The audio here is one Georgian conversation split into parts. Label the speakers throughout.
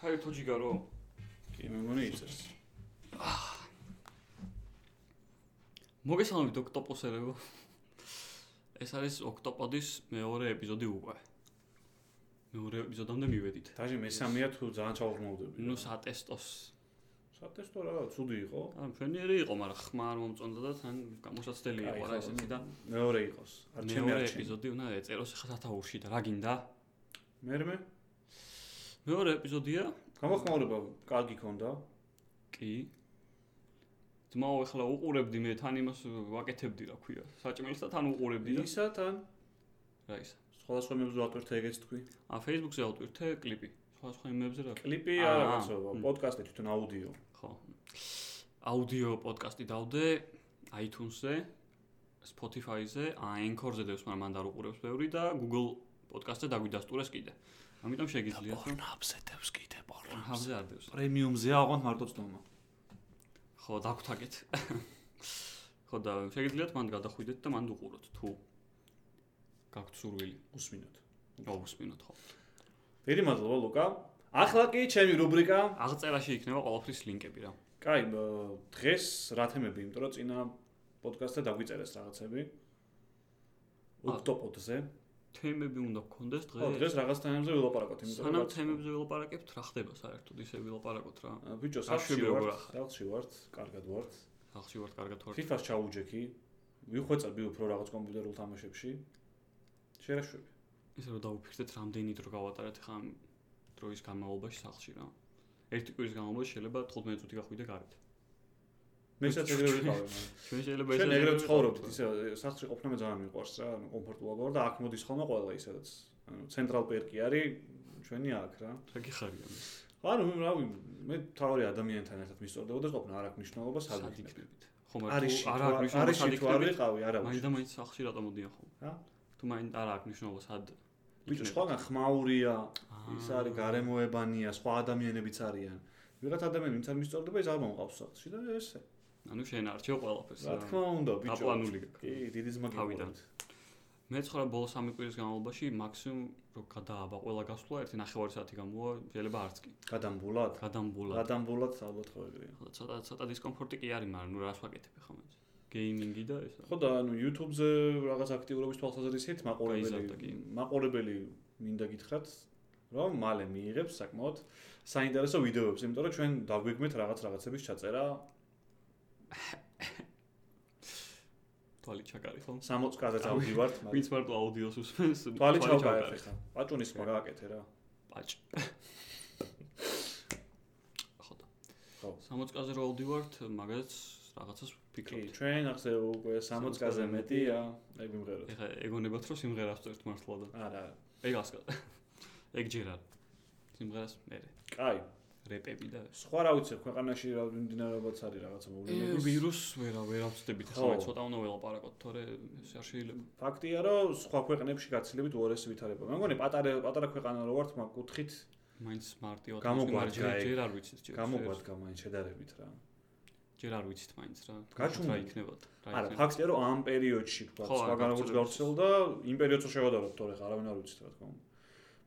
Speaker 1: საერთო ჯიგარო.
Speaker 2: კი მე მგონი იცის.
Speaker 1: მოგესალმებით ოქტოპოსერებო. ეს არის ოქტოპოდის მეორე ეპიზოდი უკვე. მეორე ეპიზოდამდე მივედით.
Speaker 2: დაჟე მესამეა თუ ძალიან ჩაუღრმავდები.
Speaker 1: ნუ სატესტოს.
Speaker 2: სატესტო რა ცუდი იყო.
Speaker 1: ან ფენიერი იყო, მაგრამ ხმა არ მომწონდა და თან გამოშაცდელი იყო რა ესეთი და
Speaker 2: მეორე იყოს. არ ჩემი არ
Speaker 1: მეორე
Speaker 2: ჩემი.
Speaker 1: ეპიზოდი უნდა ეწეროს ხა სათაურში და რა გინდა?
Speaker 2: მერმე
Speaker 1: მეორე ეპიზოდია?
Speaker 2: გამოხმაურება კარგი ქონდა.
Speaker 1: კი. ძმაო ახლა უყურებდი მე თან იმას ვაკეთებდი რა ქვია. საჭმელს და თან უყურებდი და
Speaker 2: ისათან
Speaker 1: რა ის.
Speaker 2: სხვადასხვა მებზე ვატვირთე ეგეც თქვი.
Speaker 1: ა Facebook-ზე ავტვირთე კლიპი. სხვა სხვა იმებზე რა
Speaker 2: კლიპი
Speaker 1: აა,
Speaker 2: არა გაცობა,
Speaker 1: მ.
Speaker 2: პოდკასტი თვითონ აუდიო.
Speaker 1: ხო. აუდიო პოდკასტი დავდე iTunes-ზე, Spotify-ზე, Anchor-ზე დევს, მაგრამ მან დარუყურებს ბევრი და Google პოდკასტზე დაგვიდასტურეს კიდე. ამიტომ შეგიძლიათ რომ
Speaker 2: ნაბზეთებს კიდე პორნო.
Speaker 1: ჰაბზე არ დევს.
Speaker 2: პრემიუმზე აღვან მარტო ცნომა.
Speaker 1: ხო, დაგვთაგეთ. ხო და შეგიძლიათ მან გადახვიდეთ და მან უყუროთ თუ გაქვთ სურვილი.
Speaker 2: უსმინოთ.
Speaker 1: გავუსმინოთ ხო.
Speaker 2: დიდი მადლობა ლუკა. ახლა კი ჩემი რუბრიკა.
Speaker 1: აღწერაში იქნება ყოველთვის ლინკები რა.
Speaker 2: კაი, მ, დღეს რა თემები, იმიტომ რომ წინა პოდკასტზე დაგვიწერეს რაღაცები. ოქტოპოდზე.
Speaker 1: თემები უნდა გქონდეს
Speaker 2: ხო,
Speaker 1: დღეს.
Speaker 2: დღეს რაღაც თემებზე ველაპარაკოთ, იმიტომ
Speaker 1: სანამ
Speaker 2: რაც-
Speaker 1: თემებზე ველაპარაკებთ, რა ხდება საერთოდ ისე ველაპარაკოთ რა.
Speaker 2: ა, ბიჭო,
Speaker 1: გაშვები
Speaker 2: სახლში
Speaker 1: როგორ
Speaker 2: ვართ,
Speaker 1: ახლა?
Speaker 2: სახლში ვართ, კარგად ვართ.
Speaker 1: ხალხში ვართ კარგად ვარ.
Speaker 2: FIFA-ს ჩაუჯექი. ვიხვეწები უფრო რაღაც კომპიუტერულ თამაშებში. შერაშვები.
Speaker 1: ესე რომ დაუფიქრდეთ, რამდენი დრო გავატარეთ ხა ამ დროის განმავლობაში სახლში რა. ერთი კვირის განმავლობაში შეიძლება 15 წუთი გახვიდე გარეთ.
Speaker 2: მესაც ეგრე ვიყავი. მაგრამ.
Speaker 1: ჩვენ შეიძლება
Speaker 2: შენ ეგრე
Speaker 1: ვიყავით.
Speaker 2: ცხოვრობდით ისე სახლში ყოფნა მე ძალიან მიყვარს რა ანუ კომფორტულად ვარ და აქ მოდის ხოლმე ყველა ისედაც ანუ ცენტრალ პერკი არის ჩვენი აქ რა
Speaker 1: რა გიხარია? მე?
Speaker 2: ანუ რავი მე თავი ადამიანთან ერთად მისწორდებოდა ეს ყოფნა არ აქვს მნიშვნელობა
Speaker 1: სად
Speaker 2: სად იქნება
Speaker 1: იქნებით? ხო
Speaker 2: არის
Speaker 1: მაგრამ
Speaker 2: შიში,
Speaker 1: თუ არ აქვს
Speaker 2: არის
Speaker 1: მნიშვნელობა სად
Speaker 2: შიში თუ არ
Speaker 1: იქნებით?
Speaker 2: ვიყავი არა
Speaker 1: მაინდა მაინც სახლში რატომ მოდიან ხო?
Speaker 2: რა?
Speaker 1: თუ მაინ არ აქვს მნიშვნელობა სად
Speaker 2: ბიჭო
Speaker 1: იქნებით?
Speaker 2: სხვაგან ხმაურია
Speaker 1: აა.
Speaker 2: ის არის გარემოებანია სხვა ადამიანებიც არიან ვიღაც ადამიანი ვინც არ მისწორდება ეს არ მომყავს სახლში და ესე
Speaker 1: ანუ შენ არჩევ ყველაფერს.
Speaker 2: რა თქმა უნდა ბიჭო
Speaker 1: დაპლანული გაქვს.
Speaker 2: კი დიდი ძმა
Speaker 1: თავიდან.
Speaker 2: გიყურეთ.
Speaker 1: მეცხრა ბოლო სამი კვირის განმავლობაში მაქსიმუმ რო გადააბა ყველა გასვლა ერთი ნახევარი საათი გამოვა, შეიძლება არც კი.
Speaker 2: გადამბულად
Speaker 1: გადამბულა.
Speaker 2: გადამბულად ალბათ ხო ეგრეა
Speaker 1: ხო, ცოტა ცოტა დისკომფორტი კი არის, მაგრამ ნუ რას ვაკეთებ ხომ ეს? გეიმინგი და ეს რა.
Speaker 2: ხო და ანუ YouTube-ზე რაღაც აქტიურობის თვალსაზრისით
Speaker 1: გაიზარდა კი.
Speaker 2: მაყურებელი მაყურებელი მინდა გითხრათ რომ მალე მიიღებს საკმაოდ საინტერესო ვიდეოებს, იმიტომ რომ ჩვენ დაგვეგმეთ რაღაც რაღაცების ჩაწერა
Speaker 1: თვალი ჩაკარი ხო?
Speaker 2: 60 კაზე წავდივართ, მაგრამ
Speaker 1: ვინც მარტო აუდიოს უსმენს,
Speaker 2: თვალი ჩავკარეთ ხა. ბაჭუნის მაგააკეთე რა.
Speaker 1: პაჭ. ხო და.
Speaker 2: ხო.
Speaker 1: 60 კაზე რო ავდივართ, მაგაც რაღაცას
Speaker 2: კი,
Speaker 1: ვფიქრობთ.
Speaker 2: ჩვენ ახზე უკვე 60 კაზე მეტია, ეგ მიმღეროთ.
Speaker 1: ეხა ეგონებათ რომ სიმღერას წერთ მართლა და
Speaker 2: არა,
Speaker 1: ეგ ასკა. ეგ ჯერ არ. სიმღერას მე
Speaker 2: კაი.
Speaker 1: რეპები და
Speaker 2: სხვა რა ვიცი, ქვეყანაში რა მიმდინარეობაც არის რაღაცა მოვლენები.
Speaker 1: ვირუსს ვერა ვერ ავწდებით
Speaker 2: ხო.
Speaker 1: ახლა მე ცოტა უნდა ველაპარაკოთ, თორე ეს არ შეიძლება.
Speaker 2: ფაქტია, რომ სხვა ქვეყნებში გაცილებით უარესი ვითარება. მე მგონი პატარა პატარა ქვეყანა რო ვართ, მაგ კუთხით
Speaker 1: მაინც მარტივად
Speaker 2: გამოგვარდა
Speaker 1: მაგრამ ჯერ
Speaker 2: ეგ.
Speaker 1: ჯერ არ ვიცით ჯერ.
Speaker 2: გამოგვადგა მაინც შედარებით რა.
Speaker 1: ჯერ არ ვიცით მაინც რა.
Speaker 2: გაჩუმდა.
Speaker 1: რა იქნებათ? რა
Speaker 2: არა,
Speaker 1: იქნებათ?
Speaker 2: ფაქტია რომ ამ პერიოდში თქვა,
Speaker 1: ხო, არა,
Speaker 2: სხვაგან როგორც
Speaker 1: გავრცელდა.
Speaker 2: გავრცელდა, იმ პერიოდს რო შევადაროთ, თორე ხა, არავინ არ ვიცით რა თქმა უნდა.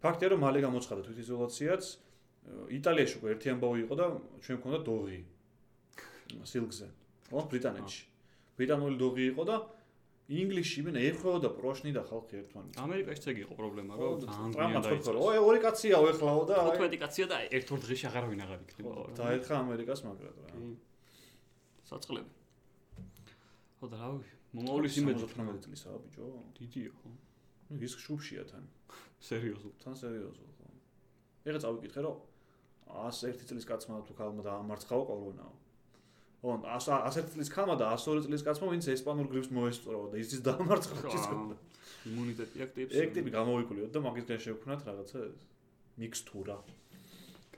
Speaker 2: ფაქტია რომ მალე გამოცხადა თვითიზოლაციაც. ე, იტალიაში უკვე ერთი ამბავი იყო და ჩვენ მქონდა დოღი. სილგზე. ხო, ბრიტანეთში. ბრიტანული დოღი იყო და ინგლისში მე ეხვეოდა პროშნი და ხალხი ერთმანეთს.
Speaker 1: ამერიკაშიც ეგ იყო პრობლემა, რომ ძალიან გვიან
Speaker 2: ტრამაც ხო,
Speaker 1: დაიწყო.
Speaker 2: ო, ორი კაციაო ეხლაო და აი,
Speaker 1: 15 კაცია და ერთ-ორ დღეში აღარავინ აღარ იქნება.
Speaker 2: ხო,
Speaker 1: რა.
Speaker 2: დაერხა ამერიკას მაგრამ რა.
Speaker 1: კი. საწყლები. ხო და რა ვიცი, მომავლის იმედი
Speaker 2: 18 წლისაა ბიჭო.
Speaker 1: დიდია ხო?
Speaker 2: ნუ ის ხშუბშია თან.
Speaker 1: სერიოზულ.
Speaker 2: თან სერიოზულ ხო. ეგა წავიკითხე რომ 101 წლის კაცმა თუ ქალმა დაამარცხაო კორონაო. ოღონ 101 წლის ქალმა და 102 წლის კაცმა ვინც ესპანურ გრიპს მოესწორო და ისიც დაამარცხა.
Speaker 1: აა, იმუნიტეტი აქტივს.
Speaker 2: ეგ ტიპი გამოვიკვლიოთ და მაგისგან შევქნათ რაღაცა მიქსთურა.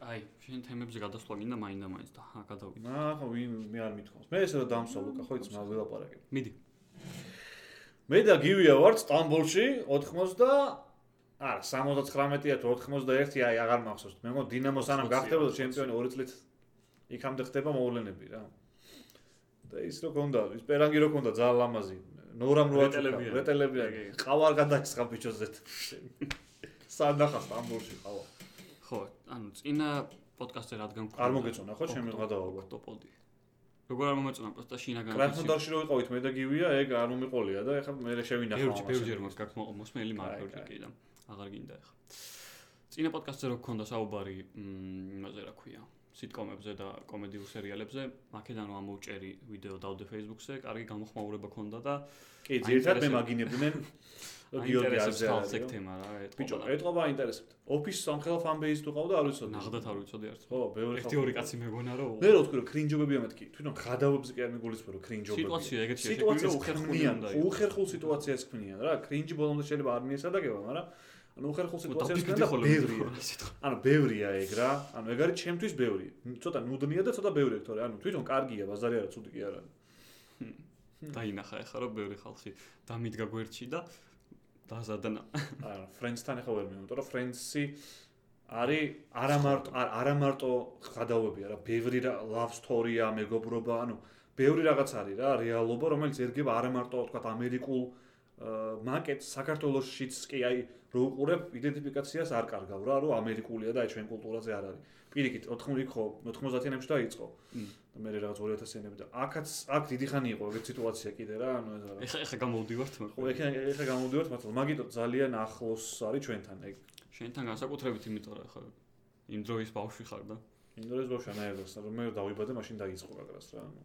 Speaker 1: აი, შენ თემებზე გადასვლა გინდა მაინდა მაინც და აა გადავიდე.
Speaker 2: ნახო ვინ მე არ მithქავს. მე ესე რა დამსვა ლუკა ხო იცი მაგ ველაპარაკებ.
Speaker 1: მიდი.
Speaker 2: მე და გივია ვარ სტამბოლში 80 არა 79-ია თუ 81 აი აღარ მახსოვს. მე მგონი დინამოს ანამ
Speaker 1: 20-ია,
Speaker 2: გახდებოდა
Speaker 1: 20-ია.
Speaker 2: ჩემპიონი 2 წლით იქამდე ხდება მოვლენები რა. და ის რო კონდა, ის პერანგი რო კონდა ძალიან ლამაზი. ნორამ რო
Speaker 1: რეტელებიანი.
Speaker 2: რეტელებიანი.
Speaker 1: ეგ, ეგ.
Speaker 2: ყავარ გადაისხა ბიჭოზეთ. სანდახა სტამბოლში ყავა.
Speaker 1: ხო, ანუ წინა პოდკასტზე რადგან
Speaker 2: არ მოგეწონა ხო ჩემი გადაობა?
Speaker 1: ტოპოდი. როგორ არ მომეწონა პროსტა შინაგანი.
Speaker 2: კრასნოდარში რო იყავით მე და გივია, ეგ არ უმიყოლია და ეხლა მე შევინახავ.
Speaker 1: ბევრი
Speaker 2: ამას.
Speaker 1: ბევრჯერ მას გაქვს მოსმენილი მაგრამ
Speaker 2: კაი,
Speaker 1: ბევრჯერ
Speaker 2: კაი.
Speaker 1: კიდე აღარ გინდა ახლა. წინა პოდკასტზე რო გქონდა საუბარი, მ, იმაზე რა ქვია, სიტკომებზე და კომედიურ სერიალებზე, მაკედანო ამოვჭერი ვიდეო დავდე Facebook-ზე, კარგი გამოხმაურება ქონდა და
Speaker 2: კი, ძირითადად მე
Speaker 1: აინტერესებს-
Speaker 2: მაგინებდნენ გიორგი
Speaker 1: აინტერესებს
Speaker 2: აზზე.
Speaker 1: ხალხს ეგ თემა რა,
Speaker 2: ბიჭო,
Speaker 1: ეთყობა.
Speaker 2: ეთყობა აინტერესებთ. ოფის სამხელო ფანბეის თუ ყავდა, არ ვიცოდი.
Speaker 1: ნახდათ არ ვიცოდი არც.
Speaker 2: ხო, ბევრი
Speaker 1: ერთი ორი კაცი მეგონა რომ
Speaker 2: მე რა ვთქვი, რომ კრინჯობებია მეთქი. თვითონ გადავებზე კი არ მიგულისხმო, რომ კრინჯობებია.
Speaker 1: სიტუაცია ეგეთია, შეგვიძლია
Speaker 2: სიტუაციას
Speaker 1: უხერხული
Speaker 2: ხმნიან,
Speaker 1: უნდა იყოს.
Speaker 2: უხერხულ სიტუაციას ხმნიან რა. კრინჯი ბოლომდე შეიძლება არ მიესადაგება, მაგრამ ანუ უხერხულ სიტუაციას
Speaker 1: დაფიქრდი
Speaker 2: ხმნიან და
Speaker 1: ხოლმე
Speaker 2: ბევრია.
Speaker 1: რა სიტყვა.
Speaker 2: ანუ ბევრია ეგ რა. ანუ ეგ არის ჩემთვის ბევრი. ცოტა ნუდნია და ცოტა ბევრია, თორე ანუ თვითონ კარგია, ბაზარი არა, ცუდი კი არა.
Speaker 1: დაინახა ეხლა რომ ბევრი ხალხი დამიდგა გვერდში და დაზადნა.
Speaker 2: არა, ფრენდსთან ახლა ვერ მე, იმიტომ რომ ფრენდსი არის არა მარტო არ- არა მარტო გადაუებია რა, ბევრი რა love story-ა, მეგობრობა, ანუ ბევრი რაღაც არის რა, რეალობა, რომელიც ერგება არა მარტო თქვა ამერიკულ აა, მაკეტს საქართველოსშიც კი აი რო უყურებ იდენტიფიკაციას არ კარგავ რა, რომ ამერიკულია და აი ჩვენ კულტურაზე არ არის. პირიქით 80 ხო 90-იანებში დაიწყო.
Speaker 1: მ.
Speaker 2: და მე რაღაც 2000-იანებში და აქაც აქ დიდი ხანი იყო ეგ სიტუაცია კიდე რა, ანუ ეს რა.
Speaker 1: ეხა ეხა გამოვდივართ მაგრამ.
Speaker 2: ხო, ეხლა ეხლა გამოვდივართ მართლა. მაგიტო ძალიან ახლოს არის ჩვენთან ეგ.
Speaker 1: შენთან განსაკუთრებით, იმიტომ რომ ხა იმ დროის ბავშვი ხარ და
Speaker 2: ინდორეს ბავშვანაირებს, რომ მე დავიბადე, მაშინ დაიწყო გაგრას რა. ანუ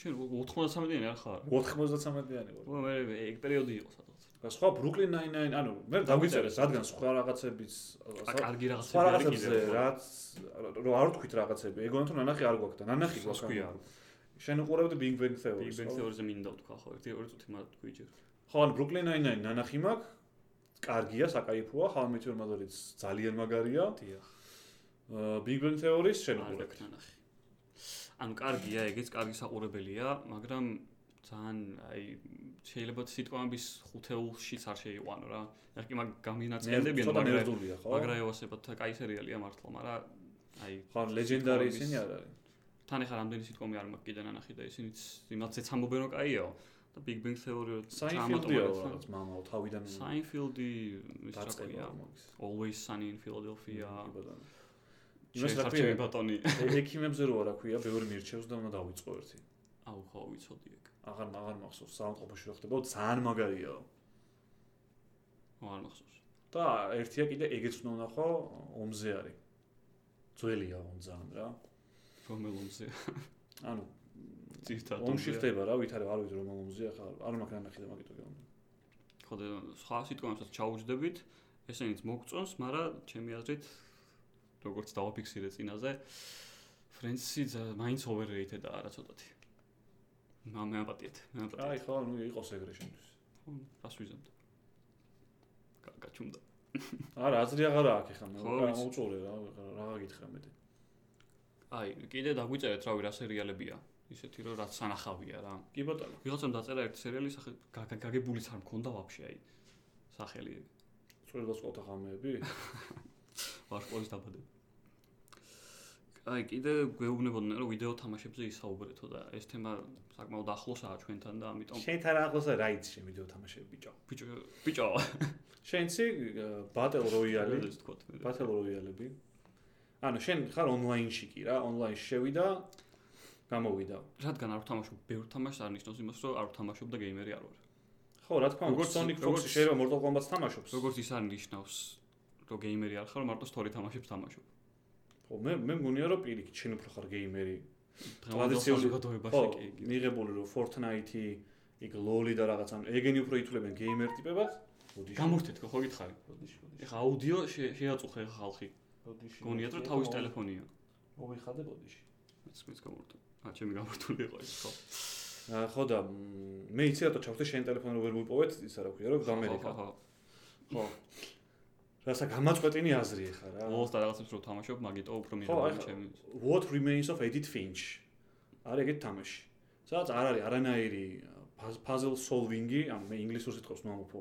Speaker 1: შენ 93-იანი არ ხარ.
Speaker 2: 93-იანი ვარ.
Speaker 1: ო, მე ეგ პერიოდი იყო სადღაც.
Speaker 2: და სხვა Brooklyn 99, ანუ მე დავიწერეს რადგან სხვა რაღაცების
Speaker 1: ა კარგი
Speaker 2: სხვა
Speaker 1: რაღაცები არის
Speaker 2: რაღაცებზე
Speaker 1: კიდე.
Speaker 2: რაც რომ არ ვთქვით რაღაცები, ეგონათ რომ ნანახი არ გვაქვს და ნანახი
Speaker 1: ხის
Speaker 2: გვაქვს.
Speaker 1: ქვია.
Speaker 2: ანუ. შენ უყურებდი Big Bang
Speaker 1: Big
Speaker 2: Theory-ს.
Speaker 1: Bang
Speaker 2: ხო?
Speaker 1: Theory-ზე მინდა ვთქვა ხო, ერთი ორი წუთი მაგ გვიჯერ.
Speaker 2: ხო, ანუ Brooklyn 99 ნანახი მაქვს. კარგია, საკაიფოა, How-I-Met Your Mother-იც ძალიან მაგარია.
Speaker 1: დიახ.
Speaker 2: აა, Big Bang Theory-ს შენ
Speaker 1: არ
Speaker 2: უყურებ.
Speaker 1: გაკნანახი. ანუ კარგია ეგეც, კარგი საყურებელია, მაგრამ ძალიან აი შეიძლება სიტყვამების ხუთეულშიც არ შეიყვანო რა. რა კი მაგ გამინაწილდებიან,
Speaker 2: ცოტა
Speaker 1: მაგრამ
Speaker 2: მერდულია, ხო?
Speaker 1: მაგრამ ევასებათ კაი სერიალია მართლა, მაგრამ აი
Speaker 2: ხო, ანუ ლეგენდარი ისინი არ არის.
Speaker 1: თან ეხა რამდენი სიტყვამი არ მაქვს კიდე ნანახი და ისინიც იმათ ზეცამობენ რომ კაიაო და Big Bang Theory რომ
Speaker 2: საინფილდია რაღაც მამაო თავიდან
Speaker 1: Seinfeld-ი ის რა
Speaker 2: დაწყება
Speaker 1: ქვია
Speaker 2: მაგის.
Speaker 1: Always Sunny in Philadelphia
Speaker 2: კი, ბატონო. იმას რა
Speaker 1: შეიძლება
Speaker 2: ქვია?
Speaker 1: ბატონი
Speaker 2: ექიმებზე რო რა ქვია, ბევრი მირჩევს და უნდა დავიწყო ერთი.
Speaker 1: აუ ხო ვიცოდი ეგ
Speaker 2: აღარ აღარ მახსოვს, საავადმყოფოში რო ხდებაო, ძალიან მაგარიაო.
Speaker 1: ხო არ მახსოვს
Speaker 2: და ერთია კიდე ეგეც უნდა ვნახო, ომზე არის. ძველია ომ ძალიან რა.
Speaker 1: რომელომზე
Speaker 2: ანუ
Speaker 1: ძირთადად
Speaker 2: ომში ხდება რა, ვითარე არ ვიტყვი რომ ომზე ახლა არ მაქვს ნანახი და მაგიტო გეუბნები.
Speaker 1: ხო და სხვა სიტყვამებსაც ჩაუჯდებით ესენიც მოგწონს მაგრამ ჩემი აზრით როგორც დავაფიქსირე წინაზე ფრენსი მაინც overrated-აა რა ცოტათი მე მე აპატიეთ მე აპატიეთ
Speaker 2: აი ხო, ну იყოს ეგრე შენთვის.
Speaker 1: ხო, რას ვიზამთ? კა- გაჩუმდა.
Speaker 2: არა, აზრი აღარა აქვს ახლა,
Speaker 1: ხო,
Speaker 2: მე
Speaker 1: ვიცი.
Speaker 2: უწურე რა, რა გაგითხრა მე.
Speaker 1: აი, კიდე დაგვიწერეთ რავი რა სერიალებია, ისეთი რომ რაც სანახავია რა.
Speaker 2: კი ბატონო.
Speaker 1: ვიღაცამ დაწერა ერთი სერიალი, სახე გა- გა- გაგებულიც არ მქონდა ვაფშე აი. სახელი
Speaker 2: წვრილოს ყოთა ღამეები?
Speaker 1: ვარშავის დაბადება. აი, კიდე გვეუბნებოდნენ რომ ვიდეო თამაშებზე ისაუბრეთო და ეს თემა საკმაოდ ახლოსაა ჩვენთან და ამიტომ
Speaker 2: შენ თან ახლოსა რაიც შენ ვიდეო თამაშები ბიჭო.
Speaker 1: ბიჭო ბიჭო
Speaker 2: შენ ცი ბატელ როიალი,
Speaker 1: ეს თქვა მე.
Speaker 2: ბატელ როიალები. ანუ შენ ხარ ონლაინში კი რა, ონლაინში შევიდა გამოვიდა.
Speaker 1: რადგან არ ვთამაშობ ბევრ თამაშს, არ ნიშნავს იმას რომ არ ვთამაშობ და გეიმერი არ ვარ.
Speaker 2: ხო, რა თქმა უნდა,
Speaker 1: როგორც-
Speaker 2: Sonic
Speaker 1: როგორც-
Speaker 2: Fox-ი შეიძლება Mortal Kombat-ს თამაშობს.
Speaker 1: როგორც ის არ ნიშნავს რომ გეიმერი არ ხარ, მარტო story თამაშებს თამაშობ.
Speaker 2: ხო, მე მე მგონია რომ პირიქით შენ უფრო ხარ გეიმერი.
Speaker 1: ტრადიციული
Speaker 2: ხო,
Speaker 1: საზოგადოებაში კი იგი.
Speaker 2: მიღებული რომ Fortnite-ი, იქ LoL-ი და რაღაც ამ ეგენი უფრო ითვლებიან გეიმერ ტიპებად. მოდი შე-
Speaker 1: გამორთეთ ხო გითხარი.
Speaker 2: მოდი შე- მოდი შე-
Speaker 1: ეხა აუდიო შე- შეაწუხე ხა ხალხი.
Speaker 2: მოდი შე-
Speaker 1: გონიათ რომ თავის ტელეფონია.
Speaker 2: მოვიხადე ბოდიში.
Speaker 1: მეც მეც გამორთო. ა ჩემი გამორთული იყო ეს ხო.
Speaker 2: აა, ხო და მ, მე იცი რატო ჩავხდე შენ ტელეფონი რომ ვერ მიპოვეთ, ის არა ქვია რომ გამერიკა.
Speaker 1: ხო.
Speaker 2: ხო. რასა გამაწყვეტინი აზრი ხარ რა.
Speaker 1: ლოს და რაღაცებს რო თამაშობ, მაგიტო უფრო
Speaker 2: ხო,
Speaker 1: მიიღო
Speaker 2: ეხა-
Speaker 1: ჩემი.
Speaker 2: What remains of Edith Finch. არის ეგეთ თამაში. სადაც არ არის არანაირი puzzle solving-ი, ანუ მე ინგლისურ სიტყვებს მომოფო.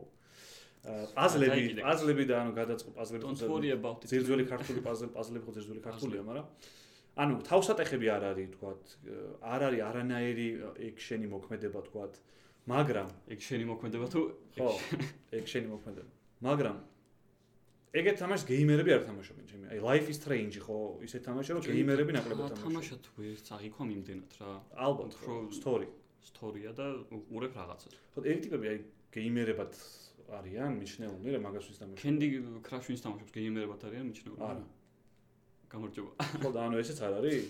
Speaker 2: პაზლები,
Speaker 1: დაიკიდე.
Speaker 2: პაზლები და ანუ გადაწყო
Speaker 1: Don't
Speaker 2: პაზლები.
Speaker 1: worry about it.
Speaker 2: ძირძველი ქართული პაზლები, პაზლები ხო ძირძველი ქართულია, მაგრამ ანუ თავსატეხები არ არის, თქვათ, აა, არ არის არანაირი ექშენი მოქმედება, თქვათ, მაგრამ
Speaker 1: ეგ შენი მოქმედება თუ
Speaker 2: ხო, ექშენი მოქმედება. მაგრამ ეგეთ თამაშს გეიმერები არ თამაშობენ ჩემი. აი Life is Strange ხო ისე თამაშია რომ გეიმერები ნაკლებად თამაშობენ.
Speaker 1: თამაშა თუ ერთ აღიქვა იმდენად რა.
Speaker 2: ალბათ ხო
Speaker 1: უფრო-
Speaker 2: story.
Speaker 1: სტორია და უყურებ რაღაცას.
Speaker 2: ხო ეგ ტიპები აი გეიმერებად არიან მიჩნეულნი რა მაგას ვის თამაშობენ.
Speaker 1: კენდი კრაშვინს თამაშობს გეიმერებად არიან მიჩნეული.
Speaker 2: არა.
Speaker 1: გამარჯობა.
Speaker 2: ხო და ანუ ესეც არ არის?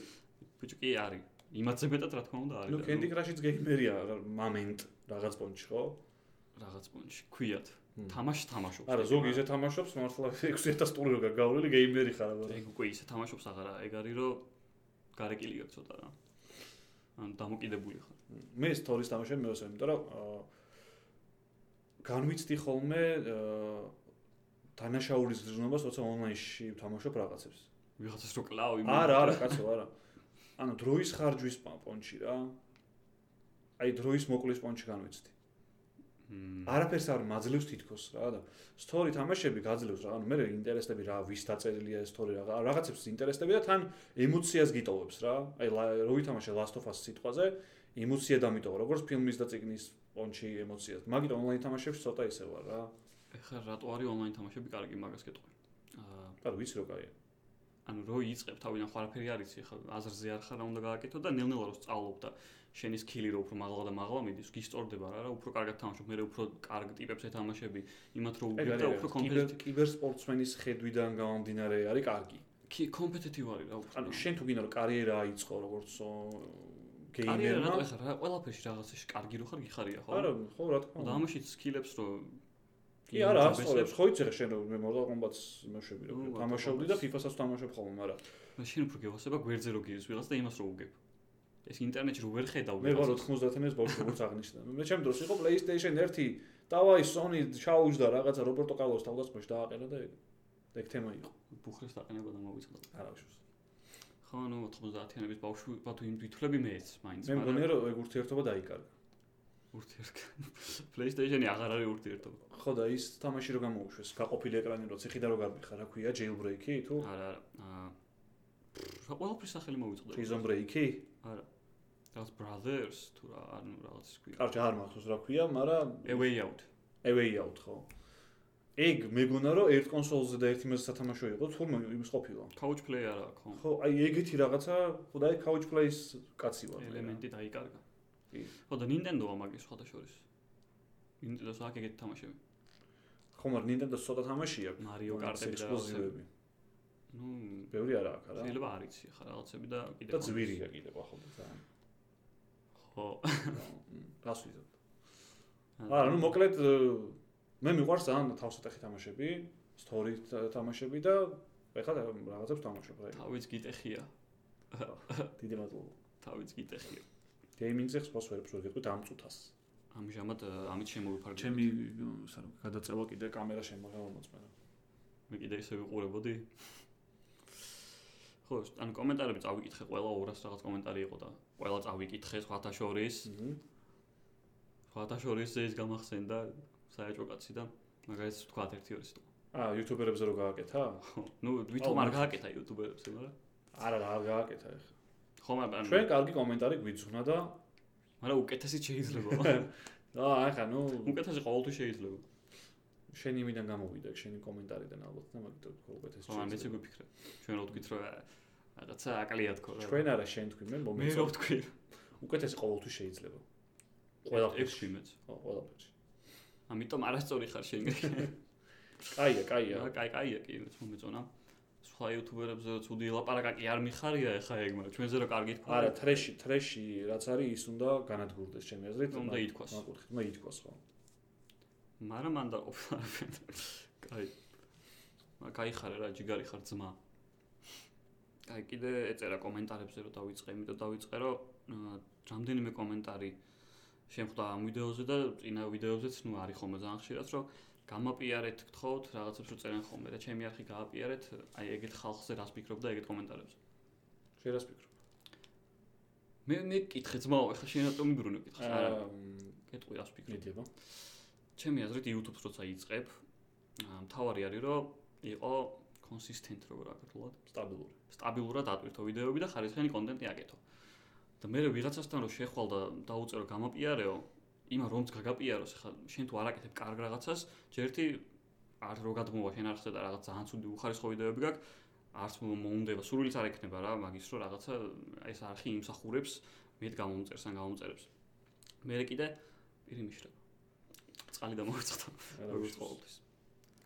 Speaker 1: ბიჭო კი არის. იმათზე მეტად რა თქმა უნდა არის.
Speaker 2: ნუ
Speaker 1: და,
Speaker 2: Candy Crush-იც გეიმერია რა- момент რაღაც პონჩი ხო?
Speaker 1: რაღაც პონჩი ქვიათ.
Speaker 2: მ.
Speaker 1: თამაში თამაშობს.
Speaker 2: არა ზოგი ისე თამაშობს მართლა 6000 ტური რო გაგავლილი გეიმერი ხარ
Speaker 1: და
Speaker 2: აბა.
Speaker 1: ეგ უკვე ისე თამაშობს აღარა, ეგ არის რომ გარეკილი გაქვს ცოტა რა. ან დამოკიდებული ხარ.
Speaker 2: მე story-ს თამაშობ მეოსე, იმიტომ რომ აა, განვიცდი ხოლმე აა, დანაშაულის გზნობას, როცა ონლაინში თამაშობ რაღაცებს.
Speaker 1: ვიღაცას რო კლავ იმ
Speaker 2: არა, არა, კაცო, არა. ანუ დროის ხარჯვის პა- პონჩი რა. აი დროის მოკლის პონჩი განვიცდი.
Speaker 1: მ,
Speaker 2: არაფერს არ მაძლევს თითქოს რა და story თამაშები გაძლევს რა. ანუ მე ინტერესები რა, ვის დაწერილია story რა, რაღაცებს ინტერესები და თან ემოციას გიტოვებს რა. აი ლა- რო ვითამაშე Last of Us სიტყვაზე, ემოცია დამიტოვა, როგორც ფილმის და წიგნის პონჩი ემოციას. მაგით ონლაინ თამაშებში ცოტა ისე ვარ რა.
Speaker 1: ეხლა რატო არის ონლაინ თამაშები კარგი მაგას გეტყვი. აა
Speaker 2: არ ვიცი რო კაია.
Speaker 1: ანუ რო იწებ თავიდან ხარაფერი არ იცი, ხა აზრზე არ ხარ, რა უნდა გააკეთო და ნელ-ნელა რო სწავლობ და შენი სკილი რო უფრო მაღლა და მაღლა მიდის, გისწორდება რა, რა უფრო კარგად თამაშობ, მე უფრო კარგ ტიპებს ეთამაშები, იმათ რო
Speaker 2: ეგ
Speaker 1: უგებ და
Speaker 2: არის
Speaker 1: უფრო
Speaker 2: კიბერ
Speaker 1: კომპეტიტივ
Speaker 2: კიბერსპორტსმენის ხედვიდან გამომდინარე არის კარგი.
Speaker 1: კი კომპეტიტივ არის რა უფრო.
Speaker 2: ანუ შენ თუ გინდა რომ კარიერა აიწყო როგორც ო,
Speaker 1: კარიერა
Speaker 2: გეიმერმა
Speaker 1: რატო ეხლა რა ყველაფერში რაღაცაში კარგი რო ხარ, გიხარია ხო?
Speaker 2: არა ხო რა თქმა
Speaker 1: და
Speaker 2: უნდა
Speaker 1: ამაშიც სკილებს რო
Speaker 2: კი არა
Speaker 1: იმდაბესებს.
Speaker 2: ასწორებს ხო იცი ხე შენ რომ მე მორდა კომბატს მაშები
Speaker 1: ნუ,
Speaker 2: რა
Speaker 1: Mortal
Speaker 2: თამაშობდი
Speaker 1: Kombat-ს.
Speaker 2: და FIFA-საც თამაშობ ხოლმე მაგრამ
Speaker 1: და შენ უფრო გევასება გვერდზე რო გირის ვიღაც და იმას რო უგებ. ეს ინტერნეტში რო ვერ ხედავ
Speaker 2: მე ვარ 99-ის ბავშვი როგორც აღნიშნა მე ჩემ დროს იყო PlayStation 1 დავაი Sony ჩაუჯდა რაღაცა რობერტო კარლოს თავდასხმაში დააყენა და ეგ ეგ თემა იყო
Speaker 1: ბუხრეს დაყენება და მოვიწყდა.
Speaker 2: არა ვშუს
Speaker 1: ხო, ნუ 90-იანების ბავშვი ბათუ იმ თვითვლები მეც მაინც.
Speaker 2: მე მგონია რომ ეგ ურთიერთობა დაიკარგა
Speaker 1: ურთიერთობა. PlayStation-ი აღარ არის ურთიერთობა.
Speaker 2: ხო და ის თამაში რო გამოუშვეს გაყოფილი ეკრანი რო ციხიდან რო გარბიხა რა ქვია jailbreak-ი თუ
Speaker 1: არა, არა. აა რა ყველაფრის სახელი მოვიწყდა.
Speaker 2: prison break-ი
Speaker 1: რაღაც brothers თუ რა, ანუ რაღაც ის ქვია.
Speaker 2: კარჩა არ მახსოვს რა ქვია მაგრამ
Speaker 1: A way out.
Speaker 2: away out ხო ეგ მეგონა რომ ერთ კონსოლზე და ერთ იმას სათამაშო იყო თურმე იმის ყოფილა
Speaker 1: Couch play არა ხო?
Speaker 2: ხო აი ეგეთი რაღაცა ხოდა აი couch play-ის კაცი ვარ მე რა.
Speaker 1: ელემენტი დაიკარგა.
Speaker 2: კი.
Speaker 1: ხო და Nintendo-მა მაგის სხვათა შორის. Nintendo-ს აქ ეგეთი თამაშები.
Speaker 2: ხო მაგრამ Nintendo ცოტა თამაშია
Speaker 1: Mario Kart-ები და რაღაცები.
Speaker 2: ექსკლუზივები
Speaker 1: ნუ
Speaker 2: ბევრი არა აქვს არა
Speaker 1: შეიძლება არ იცი ხა რაღაცები და კიდე
Speaker 2: და ძვირია კიდევ ახლა ძალიან
Speaker 1: ხო
Speaker 2: მ, რას ვიზობ არა ნუ მოკლედ ე, მე მიყვარს ძალიან თავსატეხი თამაშები story თა- თამაშები და ეხლა და რაღაცებს თამაშობ რა
Speaker 1: თავიც გიტეხია
Speaker 2: დიდი მადლობა
Speaker 1: თავიც გიტეხია
Speaker 2: გეიმინგზე ხსნას ვერებს ვერ გეტყვით ამ წუთას
Speaker 1: ამჟამად ა, ამით შემოვიფარგლებ
Speaker 2: ჩემი სანუ გადაწევა კიდე კამერა შემოღალმოც მე
Speaker 1: მე კიდე ისე ვიყურებოდი ხო შ- ანუ კომენტარები წავიკითხე ყველა 200 რაღაც კომენტარი იყო და ყველა წავიკითხე სხვათა შორის სხვათა შორის ეს გამახსენდა საეჭო კაცი და მაგალითად თქვა ერთი ორი სიტყვა
Speaker 2: ა იუთუბერებზე რო გააკეთა?
Speaker 1: ხო, ნუ ვითომ არ გააკეთა იუთუბერებს მაგრამ
Speaker 2: არა, რა გააკეთა ეხლა.
Speaker 1: ხო მაგრამ ანუ-
Speaker 2: ჩვენ კარგი კომენტარი გვიძღვნა და
Speaker 1: მაგრამ უკეთესი შეიძლება
Speaker 2: და ახლა ნუ
Speaker 1: უკეთესი ყოველთვის შეიძლება
Speaker 2: შენი იმიდან გამოვიდა, შენი კომენტარიდან ალბათ და მაგით თქვა უკეთეს
Speaker 1: ხო, ან მეც
Speaker 2: ჩვენ.
Speaker 1: გვიფიქრე. ჩვენ რო ვთქვით რომ აა, რაღაცა აკლია თქო რა.
Speaker 2: ჩვენ არა შენ თქვი მე
Speaker 1: მე რო
Speaker 2: მომეწონა.
Speaker 1: ვთქვი.
Speaker 2: უკეთესი ყოველთვის შეიძლება. ყველაფერში.
Speaker 1: ექვსი მეც.
Speaker 2: ხო, ყველაფერში.
Speaker 1: ამიტომ არასწორი ხარ შენ.
Speaker 2: კაია, კაია.
Speaker 1: რა, კაი, კაია კი, მეც მომეწონა. სხვა იუთუბერებზე რო ცუდი ლაპარაკი არ მიხარია ეხა ეგ, მაგრამ ჩვენზე რო კარგი თქვა.
Speaker 2: არა, ტრეში, ტრეში რაც არის, ის უნდა განადგურდეს ჩემი აზრით.
Speaker 1: უნდა
Speaker 2: მაგ-
Speaker 1: ითქვას.
Speaker 2: მაგუთხით, მე ითქვას ხო.
Speaker 1: მაგრამ ან დაყოფა. კაი. მაგრამ кайხარე რა, ჯიგარი ხარ ძმა. აი კიდე ეწერა კომენტარებზე რომ დავიწყე, იმიტომ დავიწყე რომ აა, რამდენიმე კომენტარი შემხვდა ამ ვიდეოზე და წინა ვიდეოზეც ნუ არის ხოლმე ძალიან ხშირად რომ გამაპიარეთ გთხოვთ რაღაცებს რომ წერენ ხოლმე და ჩემი არხი გააპიარეთ, აი ეგეთ ხალხზე რას ფიქრობ და ეგეთ კომენტარებზე.
Speaker 2: შენ რას ფიქრობ?
Speaker 1: მე მე მკითხე ძმაო, ახლა შენ რატომ მიბრუნე მკითხე? არა,
Speaker 2: აა,
Speaker 1: გეტყვი რას ფიქრობ.
Speaker 2: მიდება.
Speaker 1: ჩემი აზრით YouTube-ს როცა იწებ, აა, მთავარი არის რომ იყო კონსისტენტ როგორ აკეთოთ,
Speaker 2: სტაბილური.
Speaker 1: სტაბილურად ატვირთო ვიდეოები და ხარისხიანი კონტენტი აკეთო. და მე ვიღაცასთან რომ შეხვალ და დაუწერო გამაპიარეო, იმა რომც გაგაპიაროს, ხა შენ თუ არ აკეთებ კარგ რაღაცას, ჯერ ერთი არ რო გადმოვა შენ არხზე და რაღაც ძალიან ცუდი უხარისხო ვიდეოები გაქვს არც მოუნდება სურვილიც არ ექნება რა მაგის რომ რაღაცა აი ეს არხი იმსახურებს მეტ გამომწერს ან გამომწერებს მე კიდე პირი მიშრება წყალი დამოვიწყდა როგორც ყოველთვის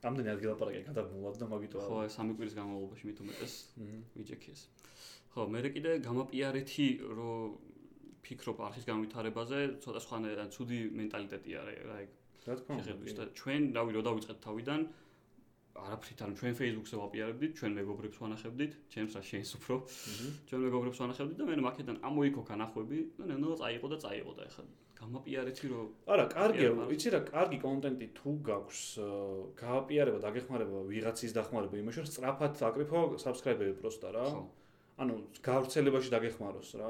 Speaker 2: ამდენი ადგილაპარაკი გადაბმულად და მაგიტო
Speaker 1: ხო ეს სამი კვირის განმავლობაში მით უმეტეს
Speaker 2: მჰმ.
Speaker 1: ვიჯექი ეს ხო მე კიდე გამაპიარეთი რო ფიქრობ არხის განვითარებაზე ცოტა სხვანაირად ცუდი მენტალიტეტია რა რა ეგ
Speaker 2: რა თქმა
Speaker 1: შეხებვის
Speaker 2: უნდა
Speaker 1: და ჩვენ რავი რო დავიწყეთ თავიდან არაფრით ან ჩვენ Facebook-ზე ვაპიარებდით, ჩვენ მეგობრებს ვანახებდით, ჩემს რა შეის უფრო,
Speaker 2: მჰმ.
Speaker 1: ჩვენ მეგობრებს ვანახებდით და მე მაქედან ამოიქო განახვები და ნელა წაიყო და წაიყო და ეხლა გამაპიარეთი რო
Speaker 2: არა, კარგია,
Speaker 1: არა.
Speaker 2: იცი რა, კარგი კონტენტი თუ გაქვს, აა, გააპიარება, დაგეხმარება ვიღაცის დახმარება, იმაში რომ სწრაფად აკრიფო subscribe-ები პროსტა რა.
Speaker 1: ხო,
Speaker 2: ანუ გავრცელებაში დაგეხმაროს რა.